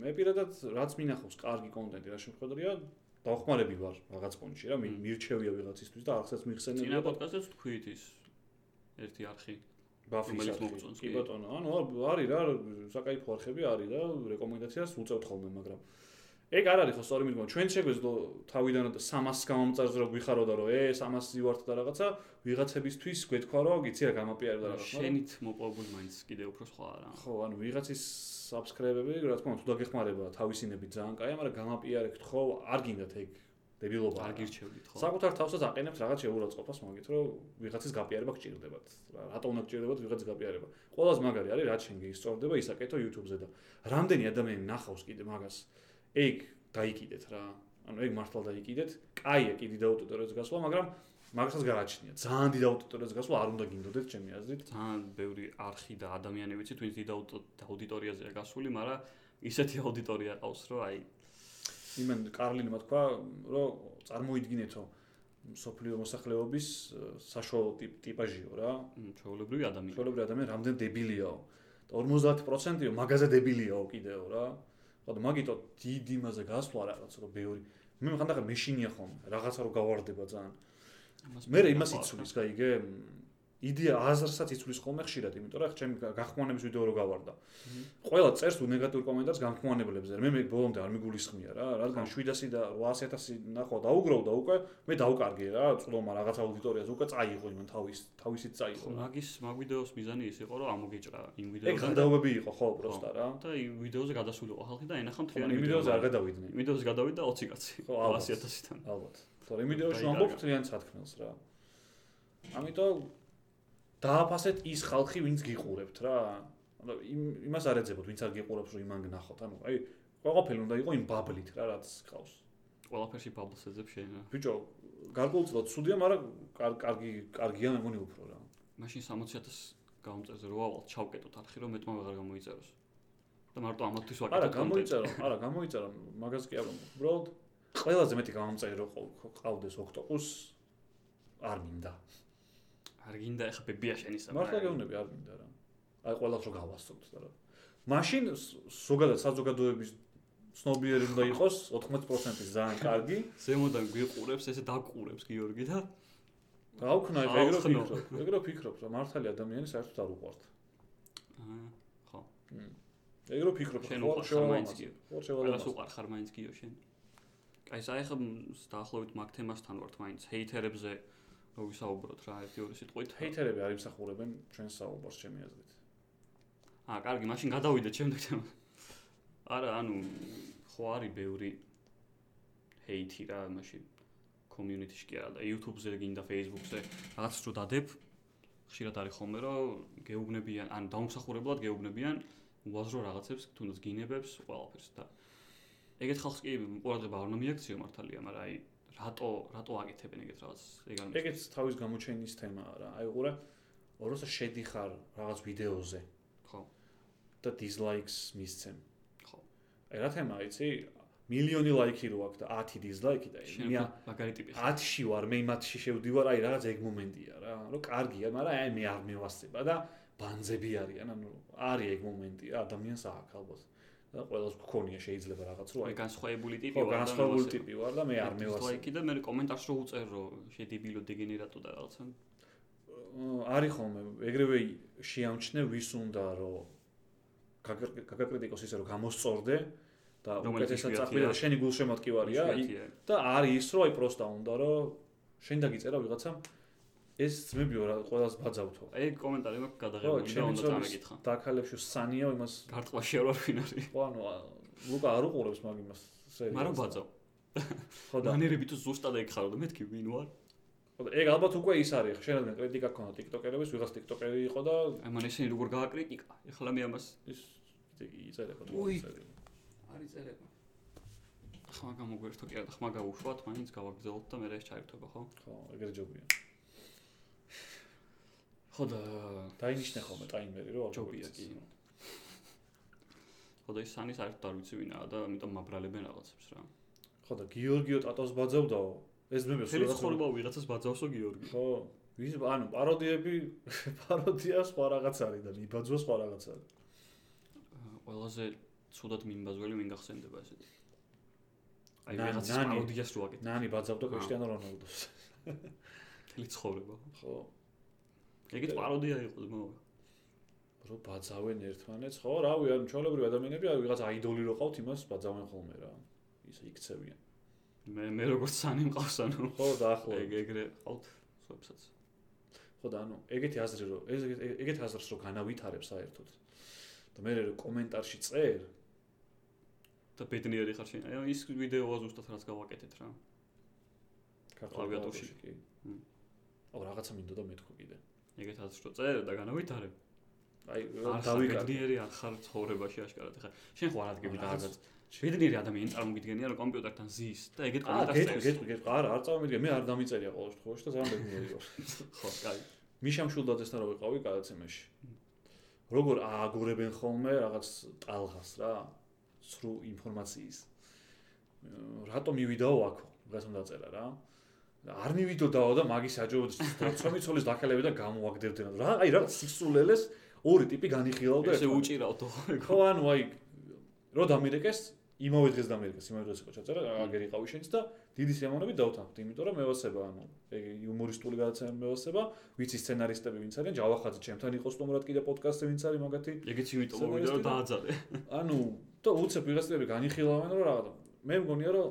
Speaker 2: მე პირადად რაც მინახავს კარგი კონტენტი რა შემთხვევაა დავხმარები ვარ რაღაც პონჩში რა, მი-
Speaker 1: მმ.
Speaker 2: მირჩევია ვიღაცისთვის და არცაც
Speaker 1: წინა
Speaker 2: მიხსენებია.
Speaker 1: პოდკასტებს თქვით ის ერთი არხი რომელიც
Speaker 2: ბაფის
Speaker 1: მოგწონს,
Speaker 2: კი
Speaker 1: კი.
Speaker 2: ბატონო, ანუ არ- არის რა, საკაიფო არხები არის და რეკომენდაციას უწევთ ხოლმე, მაგრამ ეგ არ არის ხო სწორი მიდგომა. ჩვენ შეგვეძლო თავიდან 300 გამომწარს რომ ვიხარო და რომ ე 300 ვართ და რაღაცა ვიღაცებისთვის გვეთქვა რომ იცი რა გამაპიარე და რაღაცა. მაგრამ-
Speaker 1: შენით მოპოვებული მაინც კიდე უფრო სხვა რა.
Speaker 2: ხო, ანუ ვიღაცის subscribe-ები, რა თქმა უნდა, თუ დაგეხმარება თავისინები ძალიან კაია, მაგრამ გამაპიარეთ ხო, არ გინდათ ეგ დებილობა.
Speaker 1: არ
Speaker 2: რა.
Speaker 1: გირჩევდით ხო?
Speaker 2: საკუთარ თავსაც აყენებთ რაღაც შეურაცხყოფას მაგით, რომ ვიღაცის გაპიარება გჭირდებათ. რა- რატო უნდა გჭირდებათ ვიღაცის გაპიარება? ყველაზე მაგარი არის რაც შენ გეისწორდება, ისაკეთო YouTube-ზე და რამდენი ადამიანი ნახავს კიდე მაგას. ეგ დაიკიდეთ რა. ანუ ეგ მართლა დაიკიდეთ. კაია კიდე დაუტოტორეს გასვლა, მაგრამ მაგასაც გააჩნია. ძალიან დიდ აუდიტორიას გასვლა არ უნდა გინდოდეთ ჩემი აზრით.
Speaker 1: ძალიან ბევრი არხი და ადამიანები ვიცით, ვინც დიდ აუდიტო- აუდიტორიაზეა გასული, მაგრამ ისეთი აუდიტორია ყავს, რომ აი
Speaker 2: იმან კარლინმა თქვა, რომ წარმოიდგინეთო სოფლიო მოსახლეობის э, საშუალო ტიპ- ტიპაჟიო რა.
Speaker 1: მ, ჩვეულებრივი ადამიანი.
Speaker 2: ჩვეულებრივი ადამიანი რამდენ დებილიაო. და 50%-ო მაგაზე დებილიაო კიდეო რა. ხოდა მაგიტო დიდი იმაზე გასვლა რაღაც რომ ბევრი. მე ხან და მეშინია ხოლმე, რაღაცა რომ გავარდება ძალიან.
Speaker 1: ამას
Speaker 2: მე იმას
Speaker 1: მოყვარს,
Speaker 2: იცulis, გაიგე? იდეა აზრსაც იცulis ხოლმე ხშირად, იმიტომ რომ ჩემი გა- გახმოვანების ვიდეო რო გავარდა.
Speaker 1: მჰმ.
Speaker 2: ყველა წერს უნეგატურ კომენტარს განხმოვანებლებზე. მე მე ბოლომდე არ მიგულისხმია რა, რადგან
Speaker 1: ხო.
Speaker 2: 700 და 800000 ნახო დაუგროვდა უკვე, მე დავკარგე რა, წლომა რაღაც აუდიტორიას უკვე წაიღო იმან თავის თავისით
Speaker 1: ხო,
Speaker 2: წაიღო. რა.
Speaker 1: მაგის მაგ ვიდეოს მიზანი ის იყო, რომ ამოგეჭრა იმ
Speaker 2: ეგ
Speaker 1: ვიდეოდან
Speaker 2: გადაობები იყო ხო პროსტა რა.
Speaker 1: და იმ ვიდეოზე გადასულიყო ხალხი და ენახა
Speaker 2: ხო,
Speaker 1: მთლიანი
Speaker 2: იმ ვიდეოზე არ გადავიდნენ.
Speaker 1: იმ ვიდეოზე გადავიდა 20 კაცი.
Speaker 2: ხო, ალბათ.
Speaker 1: 100000-დან.
Speaker 2: ალბათ. თორე იმ ვიდეოში
Speaker 1: დაიდარგა.
Speaker 2: ამბობ ძალიან სათქმელს რა. ამიტომ დააფასეთ ის ხალხი, ვინც გიყურებთ რა. ანუ იმ- იმას არ ეძებოთ, ვინც არ გიყურებს, რომ იმან გნახოთ. ანუ აი ყველაფერი უნდა იყოს იმ ბაბლით რა, რაც ხავს.
Speaker 1: ყველაფერში ბაბლს ეძებს შეიძლება.
Speaker 2: ბიჭო, გარკვეულწილად ცუდია, მაგრამ კარ- კარგი კარგია მე მგონი უფრო რა.
Speaker 1: მაშინ 60000 გამომწერზე რო ავალ ჩავკეტოთ არხი, რომ მეტმა ვეღარ გამოიწეროს. და მარტო ამათთვის
Speaker 2: არა,
Speaker 1: ვაკეთებ კონტენტს.
Speaker 2: გამოიწერა, არა, გამოიწერა, მაგას კი არ ვამბობ. უბრალოდ ყველაზე მეტი გამომწერი რო ყო- ყავდეს ოქტოპუს არ მინდა.
Speaker 1: არ გინდა ეხა ბებია შენისა.
Speaker 2: მართლა
Speaker 1: მაგრამ-
Speaker 2: გეუბნები არ მინდა რა. აი ყველა ხო გავასწროთ და რა. მაშინ ს- ზოგადად საზოგადოების ცნობიერი უნდა იყოს 80%-ის ძალიან კარგი.
Speaker 1: ზემოდან გვიყურებს, ესე დაგყურებს გიორგი და
Speaker 2: გავქნა ეგ ეგრო
Speaker 1: ავხნო.
Speaker 2: ფიქრობ. ეგრო ფიქრობ რა მართალი ადამიანი საერთოდ არ უყვართ.
Speaker 1: აა, ხო.
Speaker 2: ეგრო ფიქრობ
Speaker 1: შენ
Speaker 2: ხო
Speaker 1: უყვარს,
Speaker 2: შევალა
Speaker 1: მაინც
Speaker 2: მას.
Speaker 1: კი.
Speaker 2: ხო შევალა
Speaker 1: ყველას
Speaker 2: მას.
Speaker 1: უყარ ხარ მაინც გიო შენ. აი ეს აი ხა მ, დაახლოებით მაგ თემასთან ვართ მაინც ჰეითერებზე რო ვისაუბროთ რა ერთი ორი სიტყვით.
Speaker 2: ჰეითერები არ იმსახურებენ ჩვენს საუბარს ჩემი აზრით.
Speaker 1: აა კარგი, მაშინ გადავიდეთ შემდეგ თემაზე. არა, ანუ ხო არის ბევრი ჰეითი რა მაშინ community-ში კი არა და YouTube-ზე გინდა Facebook-ზე რაღაც რო დადებ ხშირად არის ხოლმე რომ გეუბნებიან, ან დაუმსახურებლად გეუბნებიან უაზრო რაღაცებს, თუნდაც გინებებს, ყველაფერს და ეგეთ ხალხს კი ყურადღება არ უნდა მიაქციო მართალია, მაგრამ აი რატო რატო აკეთებენ ეგეთ რაღაცს? ეგ არ მის-
Speaker 2: ეგეც თავის გამოჩენის თემაა რა. აი ყურე როცა შედიხარ რაღაც ვიდეოზე
Speaker 1: ხო,
Speaker 2: და დიზლაიკს მისცემ.
Speaker 1: ხო.
Speaker 2: აი რა თემაა იცი? მილიონი ლაიქი რო აქვს და 10 დიზლაიკი და
Speaker 1: შენ
Speaker 2: მე
Speaker 1: უფრო მაგარი ტიპი ხარ.
Speaker 2: 10-ში ვარ, მე მათში შევდივარ, აი რაღაც ეგ მომენტია რა. რომ კარგია, მაგრამ აი მე არ მევასება და ბანძები არიან, ანუ არის ეგ მომენტი, რა, ადამიანს აქვს ალბათ. და ყველას გქონია შეიძლება რაღაც რო
Speaker 1: აი
Speaker 2: აი
Speaker 1: განსხვავებული ტიპი
Speaker 2: ხო,
Speaker 1: ვარ და
Speaker 2: განსხვავებული
Speaker 1: მევასება.
Speaker 2: ტიპი ვარ და მე არ მევასება.
Speaker 1: დიზლაიკი და მე კომენტარს რო უწერ რო შედებილო დეგენერატო და რაღაცა.
Speaker 2: აა, არის ხოლმე, ეგრევე შეამჩნე ვის უნდა რომ გაგაკ- გაგაკრიტიკოს ისე რომ გამოსწორდე და
Speaker 1: რომელიც
Speaker 2: უკეთესად
Speaker 1: იშვიათია.
Speaker 2: წახვიდა და შენი გულშემატკივარია,
Speaker 1: იშვიათია.
Speaker 2: და არის ის რომ აი პროსტა უნდა რომ შენ დაგიწერა ვიღაცამ ეს ძმებიო რა ყოველას ბაძავთო.
Speaker 1: ეგ კომენტარი მაქვს
Speaker 2: ხო,
Speaker 1: გადაღებული და
Speaker 2: ჩემი
Speaker 1: უნდა
Speaker 2: ძმების
Speaker 1: წამეკითხა.
Speaker 2: დაქალებში სანიო იმას
Speaker 1: გარტყვაში არ ვარ ვინარი.
Speaker 2: ხო ანუ ა, ლუკა არ უყურებს მაგ იმას. სერიალს.
Speaker 1: მაგრამ ბაძავ.
Speaker 2: ხო და
Speaker 1: მანერები თუ ზუსტად ეგხარო და მეთქი ვინ ვარ?
Speaker 2: ხო და ეგ ალბათ უკვე ის არის ხა შეიძლება კრიტიკა ქონა TikTokerების, ვიღაც TikTokeri იყო და
Speaker 1: აი მან ისინი როგორ გააკრიტიკა. ეხლა მე ამას
Speaker 2: ის იწერება
Speaker 1: უი.
Speaker 2: წერილი.
Speaker 1: არ იწერება. ხმა გამოგვერთო კი არა, ხმა გავუშვათ, მაინც გავაგზავნოთ და მე რა ეს ჩაირთვება, ხო?
Speaker 2: ხო, ეგრე ჯობია.
Speaker 1: ხო და
Speaker 2: დაინიშნე ხოლმე ტაიმერი რომ არ
Speaker 1: ჯობია
Speaker 2: გიგოდეს.
Speaker 1: კი. ხო და ის სანის არ არ ვიცი ვინაა და ამიტომ მაბრალებენ რაღაცებს რა.
Speaker 2: ხო და გიორგიო ტატოს ბაძავდაო. ეს ძმებიო სულ
Speaker 1: ფერი
Speaker 2: რაღაც
Speaker 1: ცხოვრება ვიღაცას ბაძავსო გიორგი.
Speaker 2: ხო ვის ანუ პაროდიები პაროდია სხვა რაღაც არის და მიბაძვა სხვა რაღაც არის
Speaker 1: აა, ყველაზე ცუდად მიმბაზველი ვინ გახსენდება ესეთი. აი
Speaker 2: ნანი,
Speaker 1: ვიღაცის
Speaker 2: ნანი.
Speaker 1: პაროდიას რო აკეთებს.
Speaker 2: ნანი ბაძავდა
Speaker 1: აა.
Speaker 2: კრისტიანო რონალდოს
Speaker 1: მთელი ცხოვრება.
Speaker 2: ხო
Speaker 1: ეგეც პაროდია იყო მოვა.
Speaker 2: რო ბაძავენ ერთმანეთს ხო რავი ანუ ჩოლებრივი ადამიანები აი ვიღაც აიდოლი რო ყავთ იმას ბაძავენ ხოლმე რა ის იქცევიან
Speaker 1: მე მე როგორც სანი მყავს ანუ
Speaker 2: ხო და ახლა
Speaker 1: ეგ ეგრე ყავთ ზოებსაც.
Speaker 2: ხო და ანუ ეგეთი აზრი რო ეს ეგ- ეგეთ აზრს რო განავითარებ საერთოდ და მე რო კომენტარში წერ
Speaker 1: და ბედნიერი ხარ შენ. აი ის ვიდეოა ზუსტად რაც გავაკეთეთ რა. კლავიატურში.
Speaker 2: კი
Speaker 1: მმ.
Speaker 2: აუ რაღაცა მინდოდა მეთქვა კიდე
Speaker 1: ეგეთ აზრს რო წერე და განავითარე.
Speaker 2: აი
Speaker 1: არ ხარ
Speaker 2: დავიკარგე
Speaker 1: ბედნიერი არ ხარ ცხოვრებაში აშკარად ხარ. შენ ხო არ ადგები და
Speaker 2: რაღაც
Speaker 1: რაღაც. ბედნიერი ადამიანი წარმოგიდგენია რომ კომპიუტერთან ზის და ეგეთ
Speaker 2: აა გეტყვი
Speaker 1: კომენტარს წერს.
Speaker 2: გეტყვი გეტყვი არა არ წავიდგე მე არ დამიწერია ყოველ შემთხვევაში და ძალიან ბედნიერი ვარ
Speaker 1: ხო, კაი.
Speaker 2: მიშამ შულდაძესთან რო ვიყავი გადაცემაში როგორ ააგურებენ ხოლმე რაღაც ტალღას რა ცრუ ინფორმაციის მ, რატომ მივიდაო აქო რატომ დაწერა რა და არ მივიდოდაო და მაგის აჯობდა ცომიცოლის დაკელები და გამოაგდებდნენ რა აი რა სიქსულელეს ორი ტიპი განიხილავდა
Speaker 1: ესე
Speaker 2: ერთმანეთს.
Speaker 1: უჭირავთ ხო?
Speaker 2: ხო ანუ აი რო დამირეკეს იმავე დღეს დამირეკეს იმავე დღეს იყო ჩაწერა აგერიყავი შენც და დიდი სიამოვნებით დავთანხმდი იმიტომ რომ მევასება ანუ ეგ იუმორისტული გადაცემა მევასება ვიცი სცენარისტები ვინც არიან ჯავახაძე ჩემთან იყო სტუმრად კიდე პოდკასტზე ვინც არის მაგათი
Speaker 1: ეგეც იმიტომ რომ ვიდეო დააძაბე.
Speaker 2: ანუ და უცებ ვიღაცები განიხილავენ რომ რაღაცა მე მგონია რომ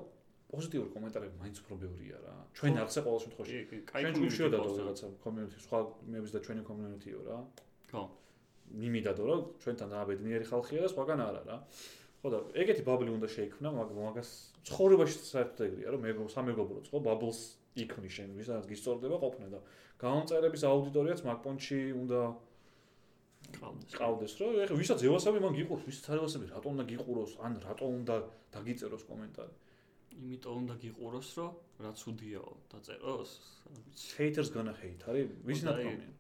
Speaker 2: პოზიტიური კომენტარები მაინც უფრო ბევრია რა ჩვენ არ ხსე ყოველ შემთხვევაში
Speaker 1: კი, კი,
Speaker 2: ჩვენ
Speaker 1: community
Speaker 2: ჯგუფშიო დადო
Speaker 1: ყავს, რა.
Speaker 2: რაღაცა კომიუნიტი სხვა მეებს და ჩვენი კომიუნიტიო რა
Speaker 1: ხო.
Speaker 2: მიმიდადო რომ ჩვენთან დააბედნიერი ხალხია და სხვაგან არა რა. ხო და ეგეთი ბაბლი უნდა შეიქმნა, მაგრამ მაგას ცხოვრებაში საერთოდ ეგრეა რომ მეგობ სამეგობროც ხო ბაბლს იქმნი შენ, ვისაც გისწორდება ყოფნა და გამომწერების აუდიტორიაც მაგ პონჩი უნდა
Speaker 1: ყავდეს.
Speaker 2: ყავდეს რომ ეხლა ვისაც ევასები მან გიყურს, ვისაც არ ევასები რატომ უნდა გიყუროს, ან რატომ უნდა დაგიწეროს კომენტარი.
Speaker 1: იმიტომ უნდა გიყუროს, რომ რაც უდიაო დაწეროს, არ ვიცი,
Speaker 2: haters gonna hate არის ვისნად კომენტარი.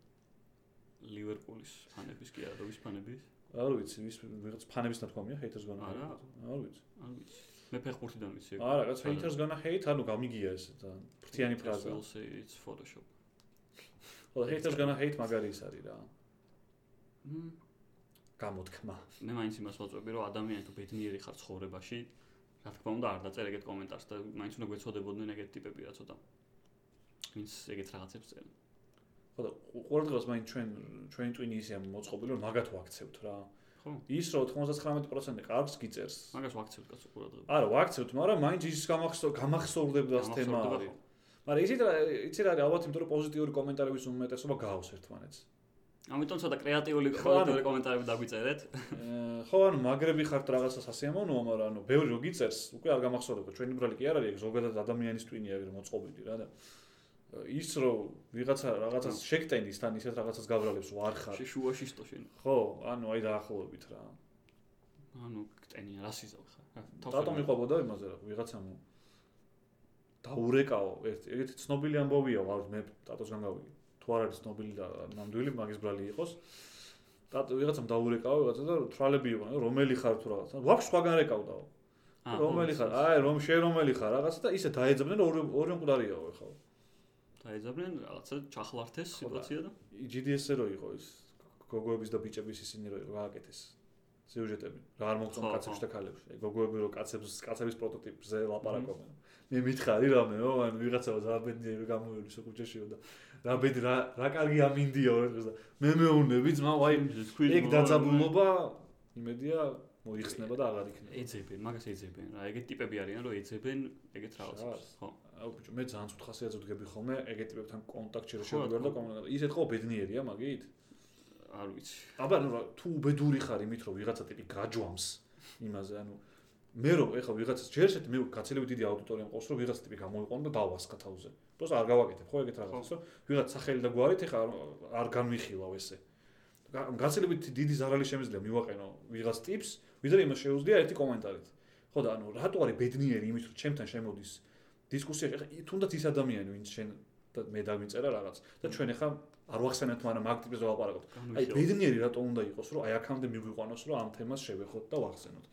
Speaker 1: ლივერპულის ფანების კი არა, ვის ფანების?
Speaker 2: არ ვიცი, ვის ვიღაც ფანების ნათქვამია haters gonna hate.
Speaker 1: არა.
Speaker 2: არ ვიცი.
Speaker 1: არ ვიცი. მე ფეხბურთიდან ვიცი.
Speaker 2: არა, რაღაც haters gonna hate, ანუ გამიგია ეს და ფრთიანი ფრაზა.
Speaker 1: Will say it's Photoshop.
Speaker 2: ხო, haters gonna hate მაგარი ის არის რა.
Speaker 1: მმ,
Speaker 2: გამოთქმა.
Speaker 1: მე მაინც იმას ვაწვევი, რომ ადამიანი თუ ბედნიერი ხარ ცხოვრებაში, რა თქმა უნდა, არ დაწერე ეგეთ კომენტარს და მაინც უნდა გვეცოდებოდნენ ეგეთ ტიპები რა ცოტა. ვინც ეგეთ რაღაცებს წერენ.
Speaker 2: ხო და ყოველდღეს მაინც ჩვენ ჩვენი ტვინი ისეა მოწყობილი რომ მაგათ ვაქცევთ რა.
Speaker 1: ხო.
Speaker 2: ის რომ 99% კარგს გიწერს.
Speaker 1: მაგას ვაქცევთ კაცო ყურადღება.
Speaker 2: არა, ვაქცევთ, მაგრამ მაინც ის გამახსოვ გამახსოვრდება ეს თემა
Speaker 1: გამახსოვდება,
Speaker 2: არის. მაგრამ ისიც რა იცი რა არის, ალბათ იმიტომ რომ პოზიტიური კომენტარების უმეტესობა გაავს ერთმანეთს.
Speaker 1: ამიტომ ცოტა კრეატიული
Speaker 2: ხო, არა.
Speaker 1: ყოველდღიური კომენტარები დაგვიწერეთ.
Speaker 2: Ε, ხო, ანუ მაგრები ხართ რაღაცა სასიამოვნოა, მაგრამ ანუ ბევრი რო გიწერს, უკვე არ გამახსოვდება. ჩვენი ბრალი კი არ არის, ეგ ზოგადად ადამიანის ტვინია ეგრე მოწყობილი რა და ε, ის რომ ვიღაცა რაღაცას შეგტენის თან ისეთ რაღაცას გავრალებს ვარ ხარ.
Speaker 1: შუშუაში სტო შენ.
Speaker 2: ხო, ანუ აი დაახლოებით რა.
Speaker 1: ანუ კტენია, რას იზავ ხარ? რა, თავს
Speaker 2: რატომ
Speaker 1: ვერ
Speaker 2: იყობოდა იმაზე რა, ვიღაცამ დაურეკაო, ერთ ერთ ცნობილი ამბავია, ვარ მე ტატოსგან გავიგე. თუ არ არის ცნობილი და ნამდვილი მაგის ბრალი იყოს. ტატო ვიღაცამ დაურეკაო ვიღაცა და თვალები იყო, რომელი ხარ თუ რაღაცა. ვაფშე სხვაგან რეკავდაო.
Speaker 1: აა,
Speaker 2: რომელი ხარ? აი, რომ შე რომელი ხარ? რაღაცა და ისე დაეძებდნენ ორი ორი მკვდარიაო ეხლა.
Speaker 1: დაეძაბნენ რაღაცა ჩახლართეს
Speaker 2: ხო და-
Speaker 1: სიტუაცია და
Speaker 2: GDS-ე რო იყო ის გოგოების და ბიჭების ისინი რო იყო, გააკეთეს სიუჟეტები. რა არ მოგწონ
Speaker 1: ხო,
Speaker 2: კაცებს და ქალებს. ეგ გოგოები რო კაცებს კაცების პროტოტიპზე ლაპარაკობენ. მე მითხარი რამეო, ან ვიღაცაო ზაბედნიერი რო გამოივლის ხუჭეშიო და რა ბედი რა რა კარგი ამინდიო ეს და მე მეუნები ძმა, ვაი ეგ დაძაბულობა იმედია მოიხსნება და აღარ იქნება.
Speaker 1: ეძებენ, მაგას ეძებენ რა. ეგეთ ტიპები არიან, რომ ეძებენ ეგეთ
Speaker 2: შას.
Speaker 1: რაღაცებს. ხო.
Speaker 2: აუ ბიჭო, მე ძალიან ცუდხასიათზე ვდგები ხოლმე, ეგ ტიპებთან კონტაქტში რა
Speaker 1: ხო,
Speaker 2: შევდგარ
Speaker 1: ხო.
Speaker 2: და კომუნიკაცია. ისეთ ხო ბედნიერია მაგით?
Speaker 1: არ ვიცი.
Speaker 2: აბა, ნუ რა, თუ უბედური ხარ იმით, რომ ვიღაცა ტიპი გაჯვამს იმაზე, ანუ მე რომ ეხა ვიღაცას ჯერ შეთ მე გაცილებით დიდი აუდიტორია მყავს, რომ ვიღაც ტიპი გამოიყვანა და დავასკა თავზე. просто არ გავაკეთებ ხო ეგეთ რაღაცას, რომ ვიღაც სახელი და გვარით ეხა არ- არ განვიხილავ ესე. გა- გაცილებით დიდი ზარალი შემიძლია მივაყენო ვიღაც ტიპს, ვიდრე იმას შეუძლია ერთი კომენტარით. ხო და ანუ რატო არის ბედნიერი იმით, რომ ჩემთან შემოდის დისკუსია, ეხა ი- თუნდაც ის ადამიანი, ვინც შენ და მე დავიწერა რაღაც და ჩვენ ეხა არ ვახსენებთ მაგრამ აქ ტიპს ვალაპარაკობთ. აი
Speaker 1: განვიხილავ.
Speaker 2: ბედნიერი რატო უნდა იყოს, რომ აი აქამდე მიგვიყვანოს, რომ ამ თემას შევეხოთ და ვახსენოთ.